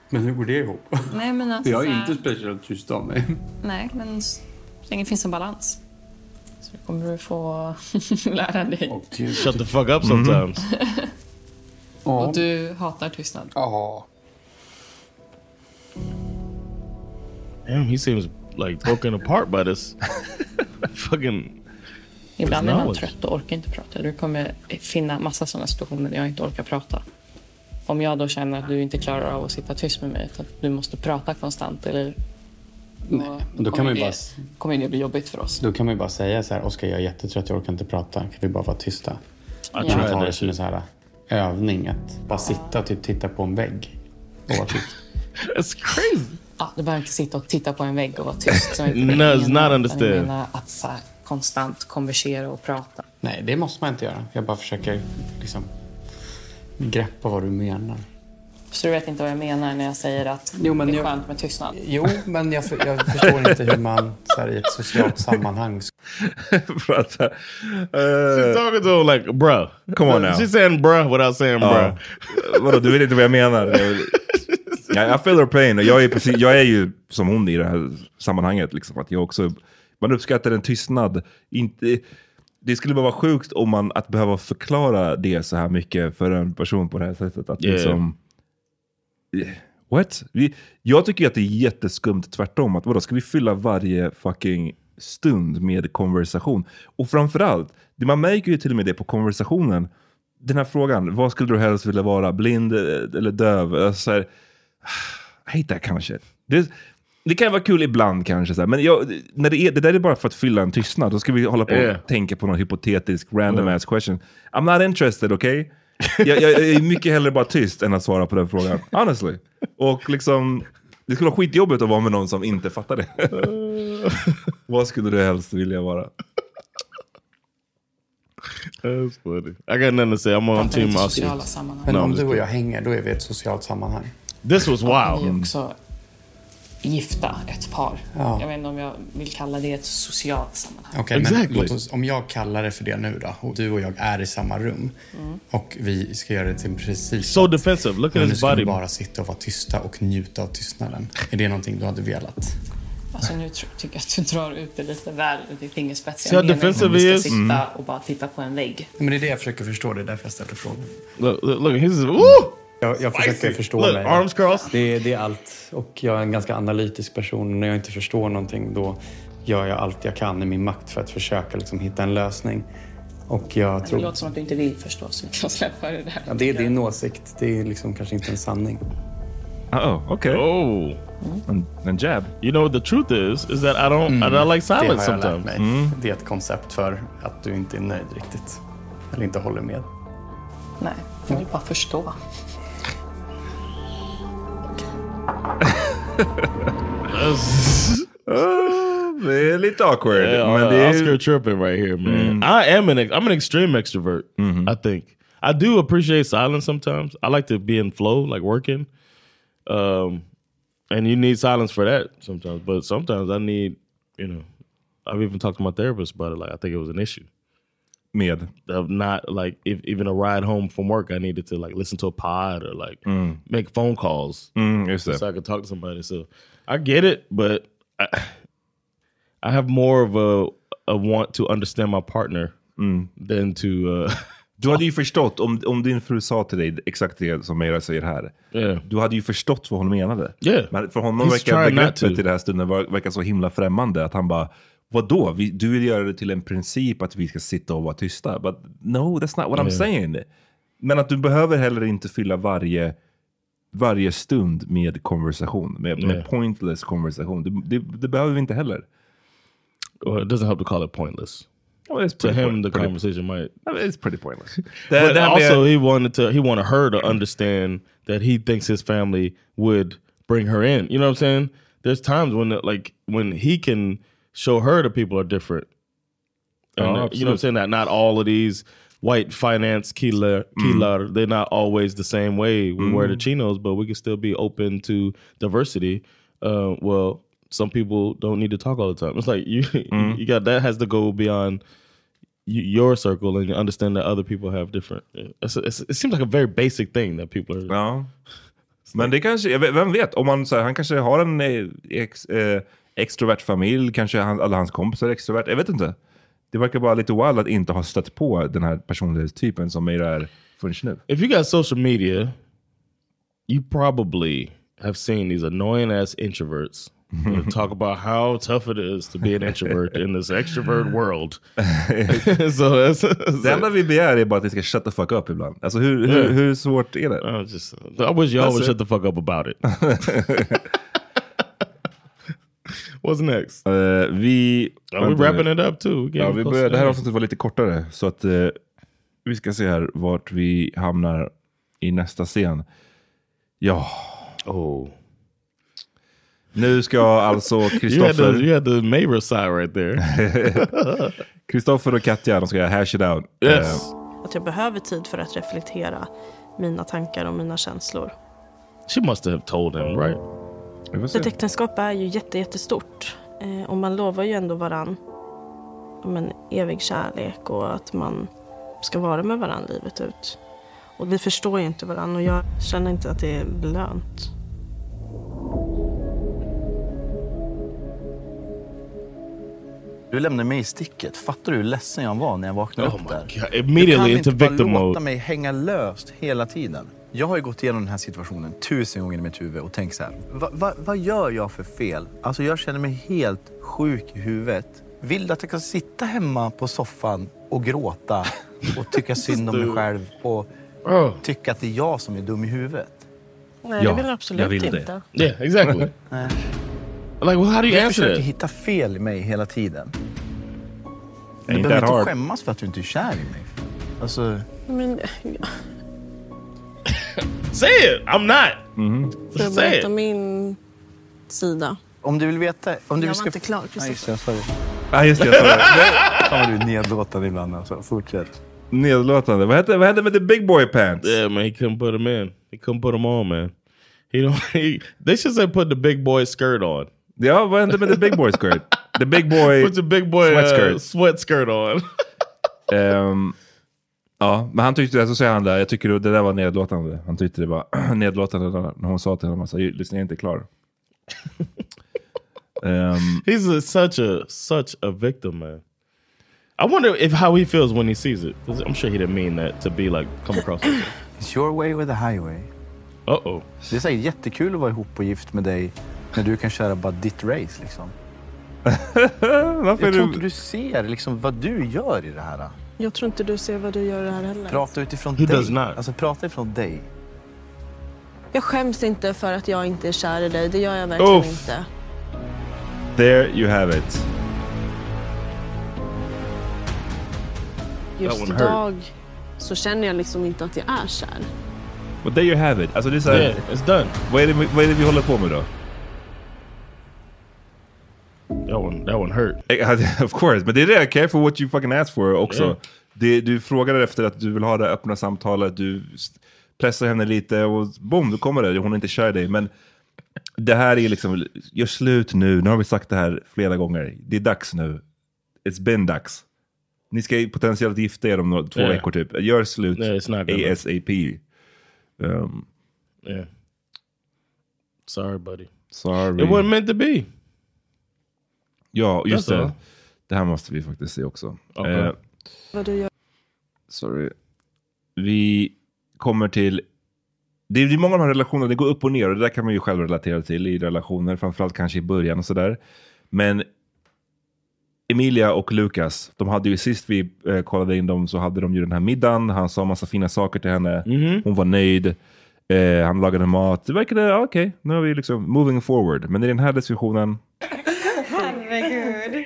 S4: Men hur går det ihop?
S5: Nej, men alltså
S4: jag
S5: så
S4: är
S5: här-
S4: inte speciellt tyst av mig.
S5: Nej, men så länge det finns en balans så kommer du få *laughs* lära dig.
S3: Mm-hmm. Shut the fuck up sometimes.
S5: Och du hatar tystnad.
S4: Ja.
S3: Damn, he seems like broken apart by *laughs* this fucking.
S5: Ibland är man
S3: knowledge.
S5: trött och orkar inte prata. Du kommer finna massa sådana situationer där jag inte orkar prata. Om jag då känner att du inte klarar av att sitta tyst med mig utan att du måste prata konstant eller... Nej,
S4: men då kan man ju bara-
S5: kommer det bli jobbigt för oss.
S4: Då kan man ju bara säga så här, Oskar jag är jättetrött, jag orkar inte prata. Kan vi bara vara tysta?
S5: Ja.
S4: Att man
S5: tried
S4: tar det
S5: that
S4: som en så här äh, övning, att bara sitta och typ titta på en vägg. Och vara tyst.
S3: That's crazy.
S5: Ja, du behöver inte sitta och titta på en vägg och vara
S4: *laughs*
S5: tyst. som inte
S4: No, it's
S5: jag menar,
S4: not
S5: utan
S4: understood.
S5: Jag menar att så här, konstant konversera och prata.
S4: Nej, det måste man inte göra. Jag bara försöker liksom greppa vad du menar.
S5: Så du vet inte vad jag menar när jag säger att
S4: Jo, men
S5: det är
S4: jag-
S5: skönt med tystnad?
S4: Jo, men jag, för, jag förstår inte hur man så här, i ett socialt sammanhang...
S3: *laughs*
S2: Prata.
S3: She's talking to him like, bruh.
S2: Come on now.
S3: She's Uh, saying bruh without saying
S2: Ja.
S3: bruh.
S2: Vadå, du vet inte vad jag menar? Ja, I feel her pain. Och jag, är precis, jag är ju som hon i det här sammanhanget. Liksom, att jag också, man uppskattar en tystnad. Inte, det skulle bara vara sjukt om man, att behöva förklara det så här mycket för en person på det här sättet. Att
S3: Yeah.
S2: liksom, what? Vi, jag tycker att det är jätteskumt tvärtom. Att vadå, ska vi fylla varje fucking stund med konversation? Och framförallt, det man märker ju till och med det på konversationen. Den här frågan, vad skulle du helst vilja vara? Blind eh, eller döv? Alltså, så här, *sighs* I hate that kind of shit. Det, det kan vara kul ibland kanske, så här, men jag, när det, är, det där är bara för att fylla en tystnad. Då ska vi hålla på
S3: Yeah.
S2: och tänka på någon hypotetisk random ass question. I'm not interested, okay? jag, jag, jag är mycket hellre bara tyst än att svara på den frågan. Honestly. Och liksom, det skulle vara skitjobbigt att vara med någon som inte fattar det. Vad skulle du helst vilja vara?
S3: That's funny. I got nothing to say. I'm on
S5: Fattar
S3: team
S5: inte
S3: Austin.
S5: sociala sammanhang.
S4: Men
S3: No, I'm
S4: om
S3: just
S4: du och
S3: kidding.
S4: jag hänger, då är vi i ett socialt sammanhang.
S3: This was
S5: Ni är
S3: wow.
S5: också gifta, ett par.
S4: Ja.
S5: Jag vet inte om jag vill kalla det ett socialt sammanhang.
S4: Okej, men låt oss, om jag kallar det för det nu då, och du och jag är i samma rum
S5: Mm.
S4: och vi ska göra det till en princip.
S3: So defensive. Look at
S4: Men nu
S3: his
S4: ska vi
S3: body.
S4: bara sitta och vara tysta och njuta av tystnaden. Är det någonting du hade velat?
S5: Alltså nu tr- tycker jag att du drar ut det lite väl ur din fingerspets.
S4: Så defensive
S5: om vi
S4: vi
S5: ska
S4: är.
S5: sitta
S4: Mm.
S5: och bara titta på en vägg.
S4: Men det är det jag försöker förstå, det är därför jag ställer frågan.
S3: Look, look, look his. Woo!
S4: Jag, jag försöker
S3: Spicy.
S4: förstå
S3: Look,
S4: mig.
S3: arms crossed.
S4: Det, det är allt. Och jag är en ganska analytisk person. När jag inte förstår någonting då gör jag allt jag kan i min makt för att försöka liksom, hitta en lösning. Och jag
S5: Det
S4: tror...
S5: låter som att du inte vill förstå så vi kan släppa det där.
S4: Ja, det är din åsikt. Det är liksom kanske inte en sanning.
S2: Oh, okay.
S3: Oh.
S2: And, jab.
S3: You know the truth is, is that I
S16: Mm.
S3: don't, I don't like silence
S4: det har jag lärt
S3: sometimes. Mm.
S4: mig. Det är ett koncept för att du inte är nöjd riktigt. Eller inte håller med.
S5: Nej, jag vill bara förstå.
S2: Ah, det är lite awkward.
S3: Yeah,
S2: men
S3: uh,
S2: det är...
S3: Oscar tripping right here, man. Mm-hmm. I am an ex I'm an extreme extrovert. I think I do appreciate silence sometimes. I like to be in flow, like working. Um, and you need silence for that sometimes. But sometimes I need, you know, I've even talked to my therapist about it. Like I think it was an issue.
S2: med.
S3: Of not like if, even a ride home from work, I needed to like listen to a pod or like
S2: Mm.
S3: make phone calls
S2: Mm, just that.
S3: so I could talk to somebody. So I get it, but I, I have more of a, a want to understand my partner
S2: Mm.
S3: than to. Uh,
S2: *laughs* Du hade ju förstått, om, om din fru sa till dig exakt det som Meira säger här.
S3: Yeah.
S2: Du hade ju förstått vad hon menade.
S3: Yeah.
S2: Men för honom
S3: He's
S2: verkar
S3: trying not
S2: begreppet
S3: to.
S2: i den här stunden ver- verkar så himla främmande. Att han bara, vadå? Vi, du vill göra det till en princip att vi ska sitta och vara tysta. But no, that's not what I'm
S3: Yeah.
S2: saying. Men att du behöver heller inte fylla varje, varje stund med konversation. Med,
S3: Yeah.
S2: med pointless konversation. Det, det, det behöver vi inte heller.
S3: well, it doesn't help to call it pointless.
S2: Well, it's
S3: to
S2: pretty
S3: him,
S2: point-
S3: the
S2: pretty-
S3: conversation might.
S2: I mean, it's pretty
S3: *laughs*
S2: pointless.
S3: but
S2: Det- det här med-
S3: also, he wanted to. He wanted her to understand that he thinks his family would bring her in. You know what I'm saying? There's times when, it, like, when he can show her that people are different. And,
S2: Oh,
S3: uh, you know what I'm
S2: absolutely.
S3: saying? That not all of these white finance killer, killer they're not always the same way. We wear the
S2: Mm.
S3: chinos, but we can still be open to diversity. Uh, well, some people don't need to talk all the time. It's like you, *laughs*
S2: Mm.
S3: you got that has to go beyond y- your circle and you understand that other people have different. uh, It's, it's, it seems like a very basic thing that people are.
S2: Ja. Men det kanske, jag vet- vem vet, om man, så här, han kanske har en eh, ex, eh, extrovert familj, kanske han, alla hans kompisar är extrovert, jag vet inte. Det verkar bara lite wild att inte ha stött på den här personlighetstypen som är där förrän nu.
S3: If you got social media, you probably have seen these annoying ass
S2: *laughs*
S3: introverts that talk about how tough it is to be an introvert in this extrovert world. *laughs* so that's,
S2: det enda vi begär är bara att ni ska shut the fuck up ibland. Alltså hur, hur,
S3: Yeah.
S2: hur svårt är det? Alltså-
S3: I wish y'all
S2: That's
S3: would
S2: it.
S3: shut the fuck up about
S2: *laughs*
S3: it. What's next?
S2: Eh, vi...
S3: Are we
S2: vänta nu.
S3: wrapping it up too? We're
S2: Ja,
S3: getting
S2: vi
S3: close to
S2: börjar, det här
S3: the end.
S2: avsnittet var lite kortare, så att eh, vi ska se här vart vi hamnar i nästa scen. Ja.
S3: Oh.
S2: Nu ska alltså
S3: *laughs* You had, the,
S2: Kristoffer...
S3: you had the Mayra side right there.
S2: *laughs* Kristoffer och Katja, de ska hash it out.
S3: Yes.
S2: Eh,
S9: Att jag behöver tid för att reflektera mina tankar och mina känslor.
S3: she must have told him, right?
S9: Ett äktenskap är ju jätte, jättestort. Eh, och man lovar ju ändå varann ja, men, evig kärlek och att man ska vara med varann livet ut. Och vi förstår ju inte varann och jag känner inte att det är lönt.
S10: Du lämnade mig i sticket. Fattar du hur ledsen jag var när jag vaknade
S3: Oh
S10: upp
S3: my
S10: där?
S3: God. Immediately
S10: du kan
S3: into
S10: inte bara
S3: victim
S10: låta
S3: mode.
S10: mig hänga löst hela tiden. Jag har ju gått igenom den här situationen tusen gånger i mitt huvud och tänkt så här. Va, va, vad gör jag för fel? Alltså jag känner mig helt sjuk i huvudet. Vill du att jag ska sitta hemma på soffan och gråta och tycka synd
S3: *laughs*
S10: om mig
S3: Dude.
S10: själv och
S3: Oh.
S10: tycka att det är jag som är dum i huvudet?
S9: Nej, det vill jag absolut inte.
S3: Yeah, exactly.
S10: Nej.
S3: Like, well, how do you
S10: jag
S3: answer
S10: försöker
S3: that?
S10: hitta fel i mig hela tiden.
S2: Ain't
S10: Du behöver
S2: that
S10: inte
S2: hard?
S10: skämmas för att du inte är kär i mig. Alltså...
S9: Men,
S3: Say it! I'm not!
S2: Mm-hmm.
S9: får jag
S10: Säg.
S9: berätta min sida?
S10: Om du vill veta... Om du
S9: Jag
S10: vill
S9: var inte klar, Kristoffer.
S10: Nej, just det. Jag sa det.
S2: Ah, just det,
S3: *laughs*
S2: jag sa det.
S10: Fan vad du är nedlåtande ibland alltså. Fortsätt.
S2: Nedlåtande. Vad hände, vad hände med the big boy pants?
S3: Yeah, man, he couldn't put him in. He couldn't put him on, man. He don't. *laughs* He, they should say put the big boy skirt on.
S2: Ja, vad hände med the big boy skirt? The big boy...
S3: *laughs* Put the big boy
S2: sweat
S3: uh,
S2: skirt.
S3: sweat skirt on.
S2: Ehm, ja, men han tyckte det, så säger han där, jag tycker det där var nedlåtande. Han tyckte det var *clears throat* nedlåtande när- när hon sa till honom, alltså, lyssna jag är inte klar. Um,
S3: *laughs* He's a, such a such a victim, man. I wonder if how he feels when he sees it. 'Cause I'm sure he didn't mean that to be like come across. Like
S10: *coughs*
S3: that.
S10: It's your way or the highway.
S3: Uh-oh.
S10: Det är säkert jättekul att vara ihop och gift med dig när du kan köra bara ditt race
S2: *laughs*
S10: liksom. jag
S2: är
S10: tror
S2: du-
S10: inte du ser liksom vad du gör i det här.
S9: Jag tror inte du ser vad du gör i det här heller.
S10: Prata utifrån dig. Alltså prata utifrån dig.
S9: Jag skäms inte för att jag inte är kär i dig. Det gör jag verkligen
S2: Uff.
S9: inte.
S2: There you have it.
S9: Just
S2: one hurt.
S9: idag så känner jag liksom inte att jag är kär.
S2: But there you have it. Alltså det är så här,
S3: Yeah, it's done.
S2: Vad är, det, vad är det vi håller på med då?
S3: That one, that one hurt.
S2: of course, men Eh, det är det. Care for what you fucking asked for också.
S3: Yeah.
S2: Det, du frågar efter att du vill ha det öppna samtalet, du s- pressar henne lite och boom, då kommer det. Hon är inte kär i dig. Men det här är liksom, gör slut nu. Nu har vi sagt det här flera gånger. Det är dags nu. It's been dags. Ni ska ju potentiellt gifta er om några, två
S3: Yeah.
S2: veckor typ. Gör slut
S3: Yeah, it's not gonna-
S2: ASAP. Um,
S3: Yeah. Sorry, buddy.
S2: sorry.
S3: It wasn't meant to be.
S2: Ja, just
S3: That's all.
S2: det. Det här måste vi faktiskt se också.
S3: Ja.
S2: Eh,
S9: Vad du gör.
S2: Sorry. Vi kommer till... Det är det är många av de här relationerna, det går upp och ner och det där kan man ju själv relatera till i relationer, framförallt kanske i början och sådär. Men Emilia och Lukas, de hade ju sist vi eh, kollade in dem så hade de ju den här middagen. Han sa massa fina saker till henne.
S3: Mhm.
S2: Hon var nöjd. Eh, han lagade mat. Det verkade, ja, okej, nu är vi liksom moving forward. Men i den här diskussionen,
S17: Herregud.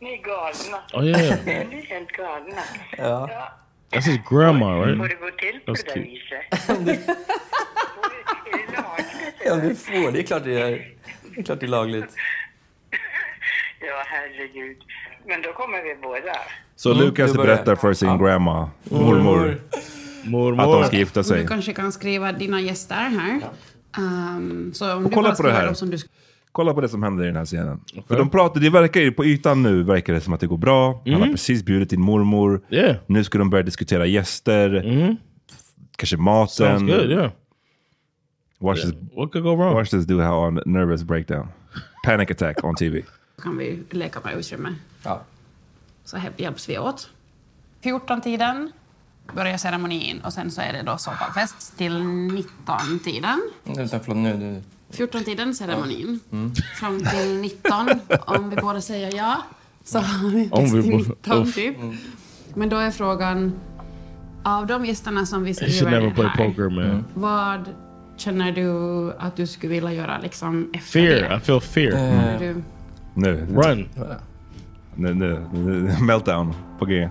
S17: Ni är galna.
S3: Oh, yeah.
S17: Ni är helt galna.
S3: Yeah. That's his grandma, right?
S17: Får det gå till på
S3: That's
S17: det där
S3: cute.
S17: viset? Får det- är det lagligt?
S16: Ja, du får. Det är klart det är, det är, klart det är lagligt.
S17: Ja, herregud. Men då kommer vi båda.
S2: så
S3: Mm,
S2: Lukas
S3: det börjar.
S2: berättar för sin grandma,
S3: Mormor.
S2: mormor,
S3: Mormor.
S2: att de ska gifta sig.
S18: Du kanske kan skriva dina gäster här. Ehm, så om
S2: Och
S18: du bara
S2: kolla på det
S18: skriver
S2: här.
S18: dem Som du...
S2: Kolla på det som händer i den här scenen. För de pratar, det verkar ju på ytan nu verkar det som att det går bra. Han har precis bjudit in mormor.
S3: Mm. Yeah. Mm.
S2: Nu ska de börja diskutera gäster. Kanske maten.
S3: Sounds good, yeah.
S2: Watch
S3: Yeah.
S2: this,
S3: What could go wrong?
S2: Watch this dude on nervous breakdown. Panic attack on TV.
S18: kan vi leka med utrymme. Så här hjälps vi åt. 14-tiden börjar ceremonin och sen så är det då soppanfest till 19-tiden.
S16: Vänta, förlåt nu. Du...
S18: 14-tiden ceremonin.
S16: Mm.
S18: Fram till 19, om vi båda säger ja, så har vi
S16: Om
S18: fest
S16: vi
S18: till
S16: båda-
S18: 19
S16: Uff.
S18: typ. Men då är frågan, av de gästerna som vi
S3: He should
S18: skriver
S3: never
S18: in
S3: play
S18: här,
S3: poker,
S2: Mm-hmm.
S3: man.
S18: vad känner du att du skulle vilja göra liksom efter
S3: Fear.
S18: det?
S3: I feel fear.
S10: Mm.
S18: Känner
S16: Mm.
S18: du-
S2: Nu.
S3: Run.
S2: Nu, nu, nu, *laughs* meltdown på G.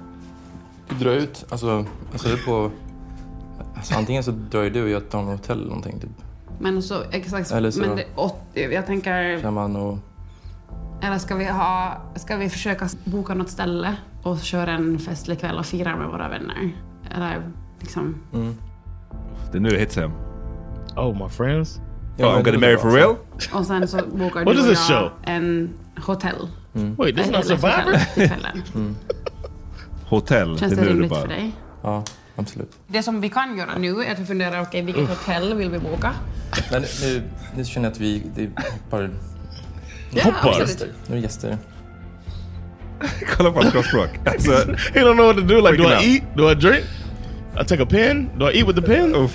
S16: Dra ut. Alltså, alltså du på... Alltså, antingen så drar ju du och jag till Dahmer Hotel eller någonting. Typ.
S18: Men så, exakt,
S16: Eller så-
S18: men det, åt, jag tänker,
S16: Kan man och...
S18: eller ska vi, ha, ska vi försöka boka något ställe och köra en festlig kväll och fira med våra vänner? Eller liksom,
S2: Det är nu det Mm. hits hem.
S3: Oh, my friends.
S2: Oh, I'm gonna marry for real?
S18: Och sen så bokar
S3: What
S18: du
S3: is
S18: och
S3: this
S18: jag
S3: show?
S18: en hotell.
S2: Mm.
S3: Wait, this is not
S18: Eller
S3: Survivor?
S18: hotell till kvällen.
S2: *laughs*
S16: Mm.
S2: Hotell.
S18: Känns
S2: är
S18: det
S2: nu
S18: rimligt
S2: bara-
S18: för dig?
S16: Ja, absolut.
S18: Det som vi kan göra nu är att vi funderar, okej vilket
S16: Uff.
S18: hotell vill vi boka?
S16: Men nu, nu känner jag att vi... Det är bara...
S18: Ja, Hoppar. absolut.
S16: Nu är det gäster.
S2: *laughs* Kolla på hans kroppsspråk. Alltså,
S3: he don't know what to do. Like, do
S2: Freaking
S3: I
S2: out.
S3: eat? Do I drink? I take a pen? Do I eat with the pen?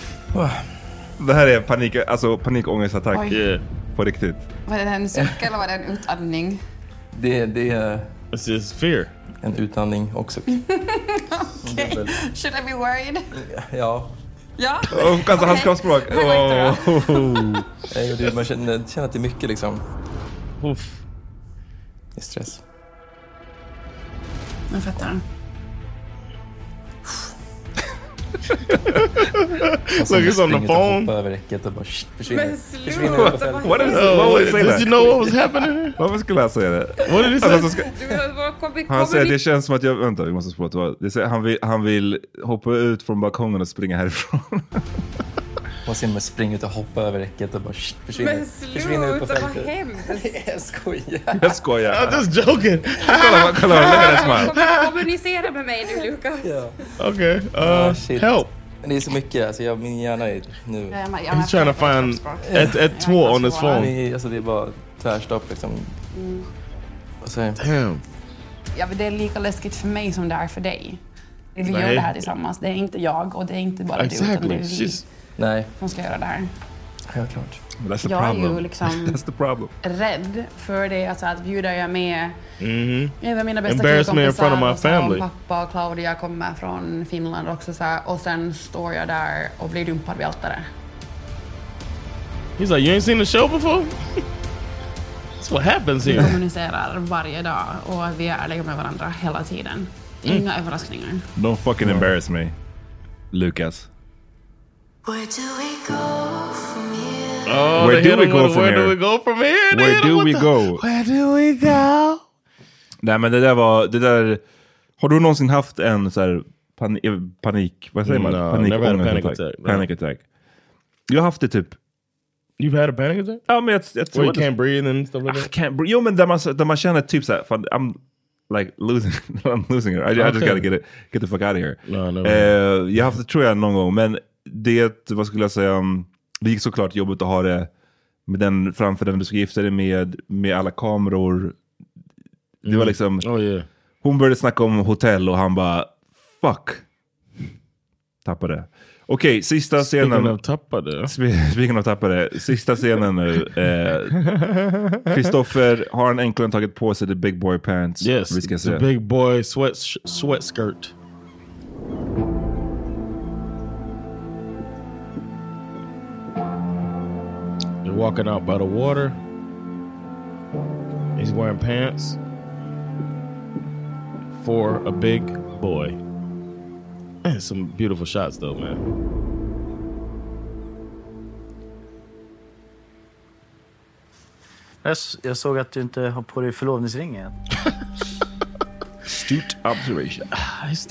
S2: Det här är panik, alltså panikångestattack.
S18: Oj. Yeah.
S2: På riktigt.
S18: Var det en suck eller var det en
S16: *laughs*
S18: utandning?
S16: Det, det är...
S3: This is fear.
S16: En utandning också.
S18: *laughs* Okej, should I be worried?
S16: *laughs* Ja.
S18: Ja?
S2: Alltså hans
S18: Okej.
S2: kroppsspråk. Oh.
S16: Nej, och det, man känner, känner att det är mycket liksom. Det är stress. *laughs*
S18: Jag fattar.
S16: Alltså,
S3: Look, it's on
S16: springer
S3: the
S16: och
S3: phone.
S16: hoppar över räcket och bara shh, försvinner.
S3: Men
S16: försvinner
S3: sluta,
S16: över fältet.
S3: vad What is- händer? what was- did you know what was happening?
S2: Varför skulle han säga det?
S3: What did he say?
S2: Alltså, så ska- han säger det
S18: det...
S2: känns som att jag... Vänta, vi måste spola tillbaka. Det säger- Han vill, han vill hoppa ut från balkongen och
S16: *laughs*
S2: springa härifrån.
S16: Och sen man springer ut och hoppar över räcket och bara shh, försvinner.
S17: Men
S16: försvinner ut på
S17: sluta, vad
S16: fältet.
S17: hemskt!
S16: *laughs* Jag skojar.
S2: *laughs* Jag skojar.
S16: I'm
S3: just joking.
S2: kolla, kolla, look at that smile.
S18: Kommer kommunicera med mig nu, Lukas.
S16: Ja.
S3: Okej.
S16: Ah,
S10: Oh,
S3: uh,
S16: shit.
S3: help.
S16: Men det är så mycket, alltså jag, min hjärna är nu...
S18: Ja, men- ja, men-
S3: He's trying to find at, at two on his phone.
S16: Det är- Alltså det är bara tvärstopp liksom.
S18: Mm.
S16: Vad säger jag?
S3: Damn.
S18: Ja, men det är lika läskigt för mig som det är för dig. Vi
S16: Nej.
S18: gör det här tillsammans. Det är inte jag och det är inte bara du, utan det är vi
S16: Nej,
S18: som ska göra det här.
S16: *laughs* självklart.
S2: That's
S18: the Jag är ju problem. liksom-
S2: *laughs* That's the problem.
S18: Rädd för det, alltså att bjuda jag med
S3: Mm-hmm.
S18: en av mina bästa
S3: Embarrass me in front of my
S18: och så
S3: family.
S18: pappa och Claudia kommer från Finland också så här, och sen står jag där och blir dumpad vid altaret.
S3: He's like, you ain't seen the show before? *laughs* That's what happens
S18: Vi
S3: here.
S18: kommunicerar varje dag och vi är ärliga med varandra hela tiden. Inga
S3: Mm.
S18: överraskningar.
S2: Don't fucking embarrass me. Lucas.
S17: Where do we go from here?
S3: Oh,
S2: Where
S3: they
S2: do
S3: hit
S2: we
S3: him
S2: go
S3: with,
S2: from
S3: Where
S2: here?
S3: do we go from here? They
S2: Where
S3: hit him
S2: do
S3: with
S2: we
S3: the-
S2: go?
S3: Where do we go?
S2: Nej men det där var... Det där, har du någonsin haft en så här pan, eh, panik... Vad säger man?
S3: No,
S2: panik,
S3: never had a panic
S2: ångestattack.
S3: attack. No.
S2: Panic attack. Jag har haft det typ...
S3: You've had a panic attack?
S2: Ja, men jag, jag
S3: Where
S2: tror
S3: you
S2: att Ah, det-
S3: can't breathe and stuff like that?
S2: Can't breathe. Jo men där man, där man känner typ såhär, fan, I'm, like losing, *laughs* I'm losing her. I, I just gotta get, it, get the fuck out of here.
S3: no.
S2: Eh, jag har haft det tror jag någon gång, men det, vad skulle jag säga, um, det gick såklart jobbigt att ha det med den, framför den du ska gifta dig med, med alla kameror. Det var
S3: Mm.
S2: liksom,
S3: Oh, yeah.
S2: hon började snacka om hotell och han bara, fuck. Tappade. Okej, sista
S3: Speaking
S2: scenen.
S3: of tappade.
S2: Spe- Speaking of tappade. Sista scenen nu. Eh, Kristoffer har han äntligen tagit på sig the big boy pants.
S3: Yes,
S2: Vi ska se.
S3: the big boy sweat sweat skirt. They're walking out by the water. He's wearing pants for a big boy. Man, some beautiful shots though, man.
S10: Jag, s- jag såg att du inte har på dig
S3: *laughs*
S10: förlovningsringen.
S2: Astute observation.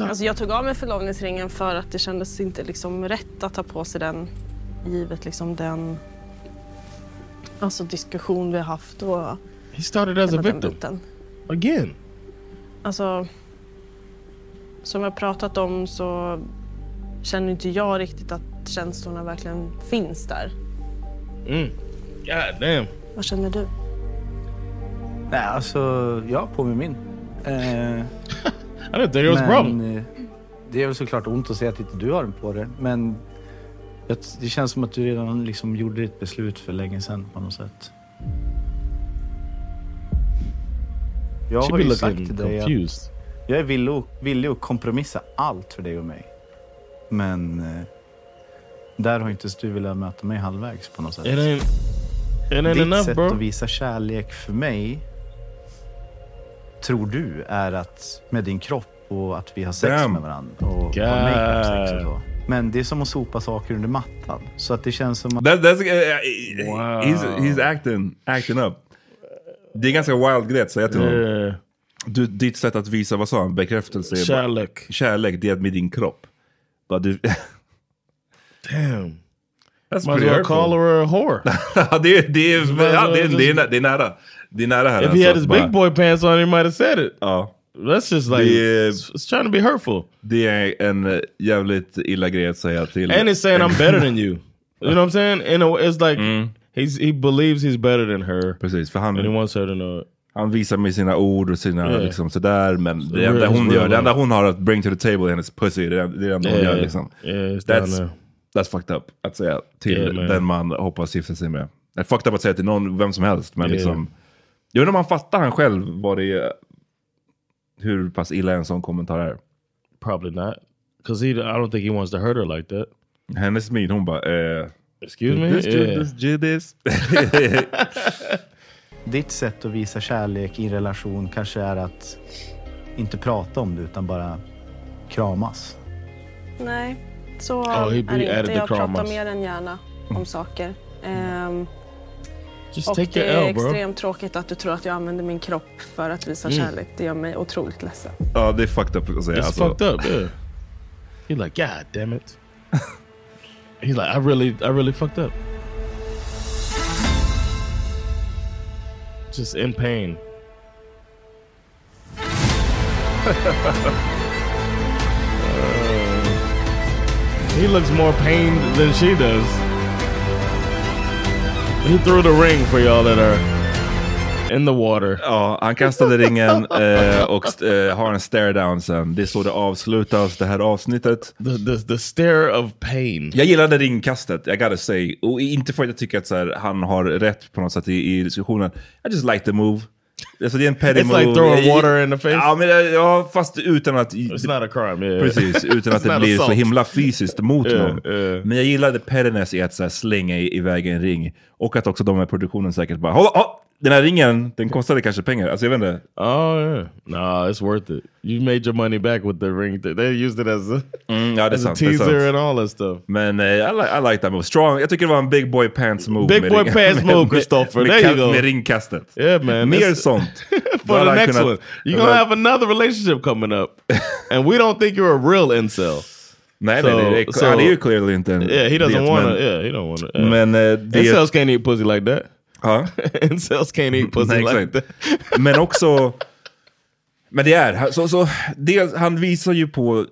S9: Alltså jag tog av mig förlovningsringen för att det kändes inte liksom rätt att ta på sig den givet liksom den alltså diskussion vi har haft. Och
S3: He started as a
S9: hela den
S3: victim
S9: biten.
S3: again.
S9: Alltså, som jag pratat om så känner inte jag riktigt att känslorna verkligen finns där.
S3: Mm. God damn.
S9: Vad känner du?
S10: Nej, alltså jag har på mig min.
S3: *laughs*
S10: Eh,
S3: I didn't think it was a problem.
S10: eh, Det är väl såklart ont att säga att inte du har den på dig, men jag, det känns som att du redan liksom gjorde ditt beslut för länge sedan på något sätt. Jag
S3: She
S10: har
S3: be
S10: ju sagt
S3: looking
S10: till dig
S3: confused.
S10: att jag är villig, villig att kompromissa allt för dig och mig. Men eh, där har inte du velat möta mig halvvägs på något sätt.
S3: It ain't, it ain't
S10: Ditt
S3: enough,
S10: sätt
S3: bro.
S10: att visa kärlek för mig tror du är att med din kropp och att vi har sex
S3: Damn.
S10: med varandra. Och, och
S3: God.
S10: make-up sex och så. Men det är som att sopa saker under mattan. Så att det känns som att...
S2: That, that's, eh, he's, he's acting, acting up. Det är ganska wild grej att säga till
S3: Yeah.
S2: honom. Du, ditt sätt att visa, vad sa han, bekräftelse? är bara-
S3: Kärlek.
S2: Kärlek, det är med din kropp. Bara du... *laughs*
S3: Damn.
S2: That's
S3: Might as
S2: pretty
S3: well
S2: hurtful.
S3: call her a whore.
S2: *laughs* Ja, det, är- det, är-
S3: well
S2: ja, det, är-
S3: eh, just-
S2: det, är nä- det är nära. Det är nära här.
S3: If he
S2: alltså,
S3: had his
S2: bara-
S3: big boy pants on, he might have said it.
S2: Ja.
S3: That's just like it's, it's trying to be hurtful.
S2: Det är en eh, jävligt illa grej att säga till...
S3: And it's saying I'm better than
S2: *laughs*
S3: you. You know what I'm saying? And it's like he's he believes he's better than her.
S2: Mm. Precis, för han,
S3: And he wants her to know it.
S2: han visar med sina ord och sina
S3: Yeah.
S2: liksom sådär. Men
S3: So
S2: det enda
S3: real-
S2: hon
S3: real
S2: gör, det enda
S3: life.
S2: hon har att bring to the table är hennes pussy. Det är det enda hon
S3: Yeah.
S2: gör liksom.
S3: Yeah, it's down
S2: that's,
S3: there.
S2: that's fucked up att säga till
S3: Yeah, man.
S2: den man hoppas gifta sig med. Det är fucked up att säga till någon, vem som helst. Men
S3: Yeah.
S2: liksom, jag undrar om han fattar han själv vad det är, hur pass illa en sån kommentar är.
S3: Probably not. Because he I don't think he wants to hurt her like that.
S2: Hennes min, hon bara... Eh,
S3: Excuse me?
S2: This,
S3: Yeah.
S2: this, this, this.
S10: *laughs* Ditt sätt att visa kärlek i en relation kanske är att inte prata om det utan bara kramas.
S9: Nej, så
S10: Ja, he- he
S9: är det
S10: added
S9: inte.
S10: the
S9: Jag pratar
S10: kramas.
S9: mer än gärna om saker. Ehm,
S3: Just
S9: och
S3: take the
S9: det är
S3: L, bro.
S9: extremt tråkigt att du tror att jag använder min kropp för att visa
S2: Mm.
S9: kärlek. Det gör mig otroligt ledsen.
S2: *laughs* Ja, det är fucked up att säga.
S3: It's
S2: alltså.
S3: fucked up, yeah. He's like, God damn it. He's like, I really, I really fucked up. Just in pain. Uh, he looks more pained than she does. He threw the ring for y'all that are in the water.
S2: Ja, han
S3: *laughs*
S2: kastade ringen eh, och st- eh, har en stare down sen. Det är så det avslutas, det här avsnittet.
S3: The, the, the stare of pain.
S2: Jag gillade ringkastet, I gotta say. Och inte för att jag tycker att så här, han har rätt på något sätt i, i diskussionen. I just like the move. Alltså, det är en petty
S3: It's
S2: move.
S3: like throwing
S2: Jag-
S3: water in the face.
S2: Ja, men, eh, ja, fast utan att...
S3: It's not a crime. Yeah.
S2: Precis,
S3: *laughs*
S2: utan att
S3: It's
S2: det
S3: not
S2: blir så
S3: assault.
S2: himla fysiskt mot
S3: Yeah,
S2: någon. Men jag gillade pettiness i att så här, slänga i- iväg en ring. Och att också de med produktionen säkert bara, "Hallå, oh, den här ringen, den kostade kanske pengar. Alltså jag vet inte.
S3: Oh yeah, *laughs* nah, it's worth it. You made your money back with the ring. Thing. They used it as a,
S2: Ja, det är
S3: as a
S2: sant. det är
S3: teaser
S2: sant.
S3: and all that stuff.
S2: Men eh, I, like, I like that move. Strong. Jag tycker det var en big boy pants move.
S3: Big
S2: Oh, med
S3: boy
S2: *laughs* ring-
S3: pants
S2: med-
S3: move,
S2: med-
S3: Christopher.
S2: Med,
S3: There you
S2: ka-
S3: go.
S2: med ringkastet.
S3: Yeah, man.
S2: Mer
S3: That's-
S2: sånt.
S3: *laughs* For
S2: Bara
S3: the next
S2: kunnat-
S3: one, you're gonna have another relationship coming
S2: *laughs*
S3: up, and we don't think you're a real incel.
S2: Nej, nej, nej, det är- han är ju clearly inte en
S3: Yeah, he doesn't
S2: det,
S3: want
S2: men-
S3: to. Yeah, he don't want to.
S2: Men, eh, det-
S3: incels can't eat pussy like *laughs* that.
S2: Huh? *laughs*
S3: incels can't eat pussy
S2: Nej,
S3: like
S2: exakt. Men också Men det är, så, så, dels, han visar ju på,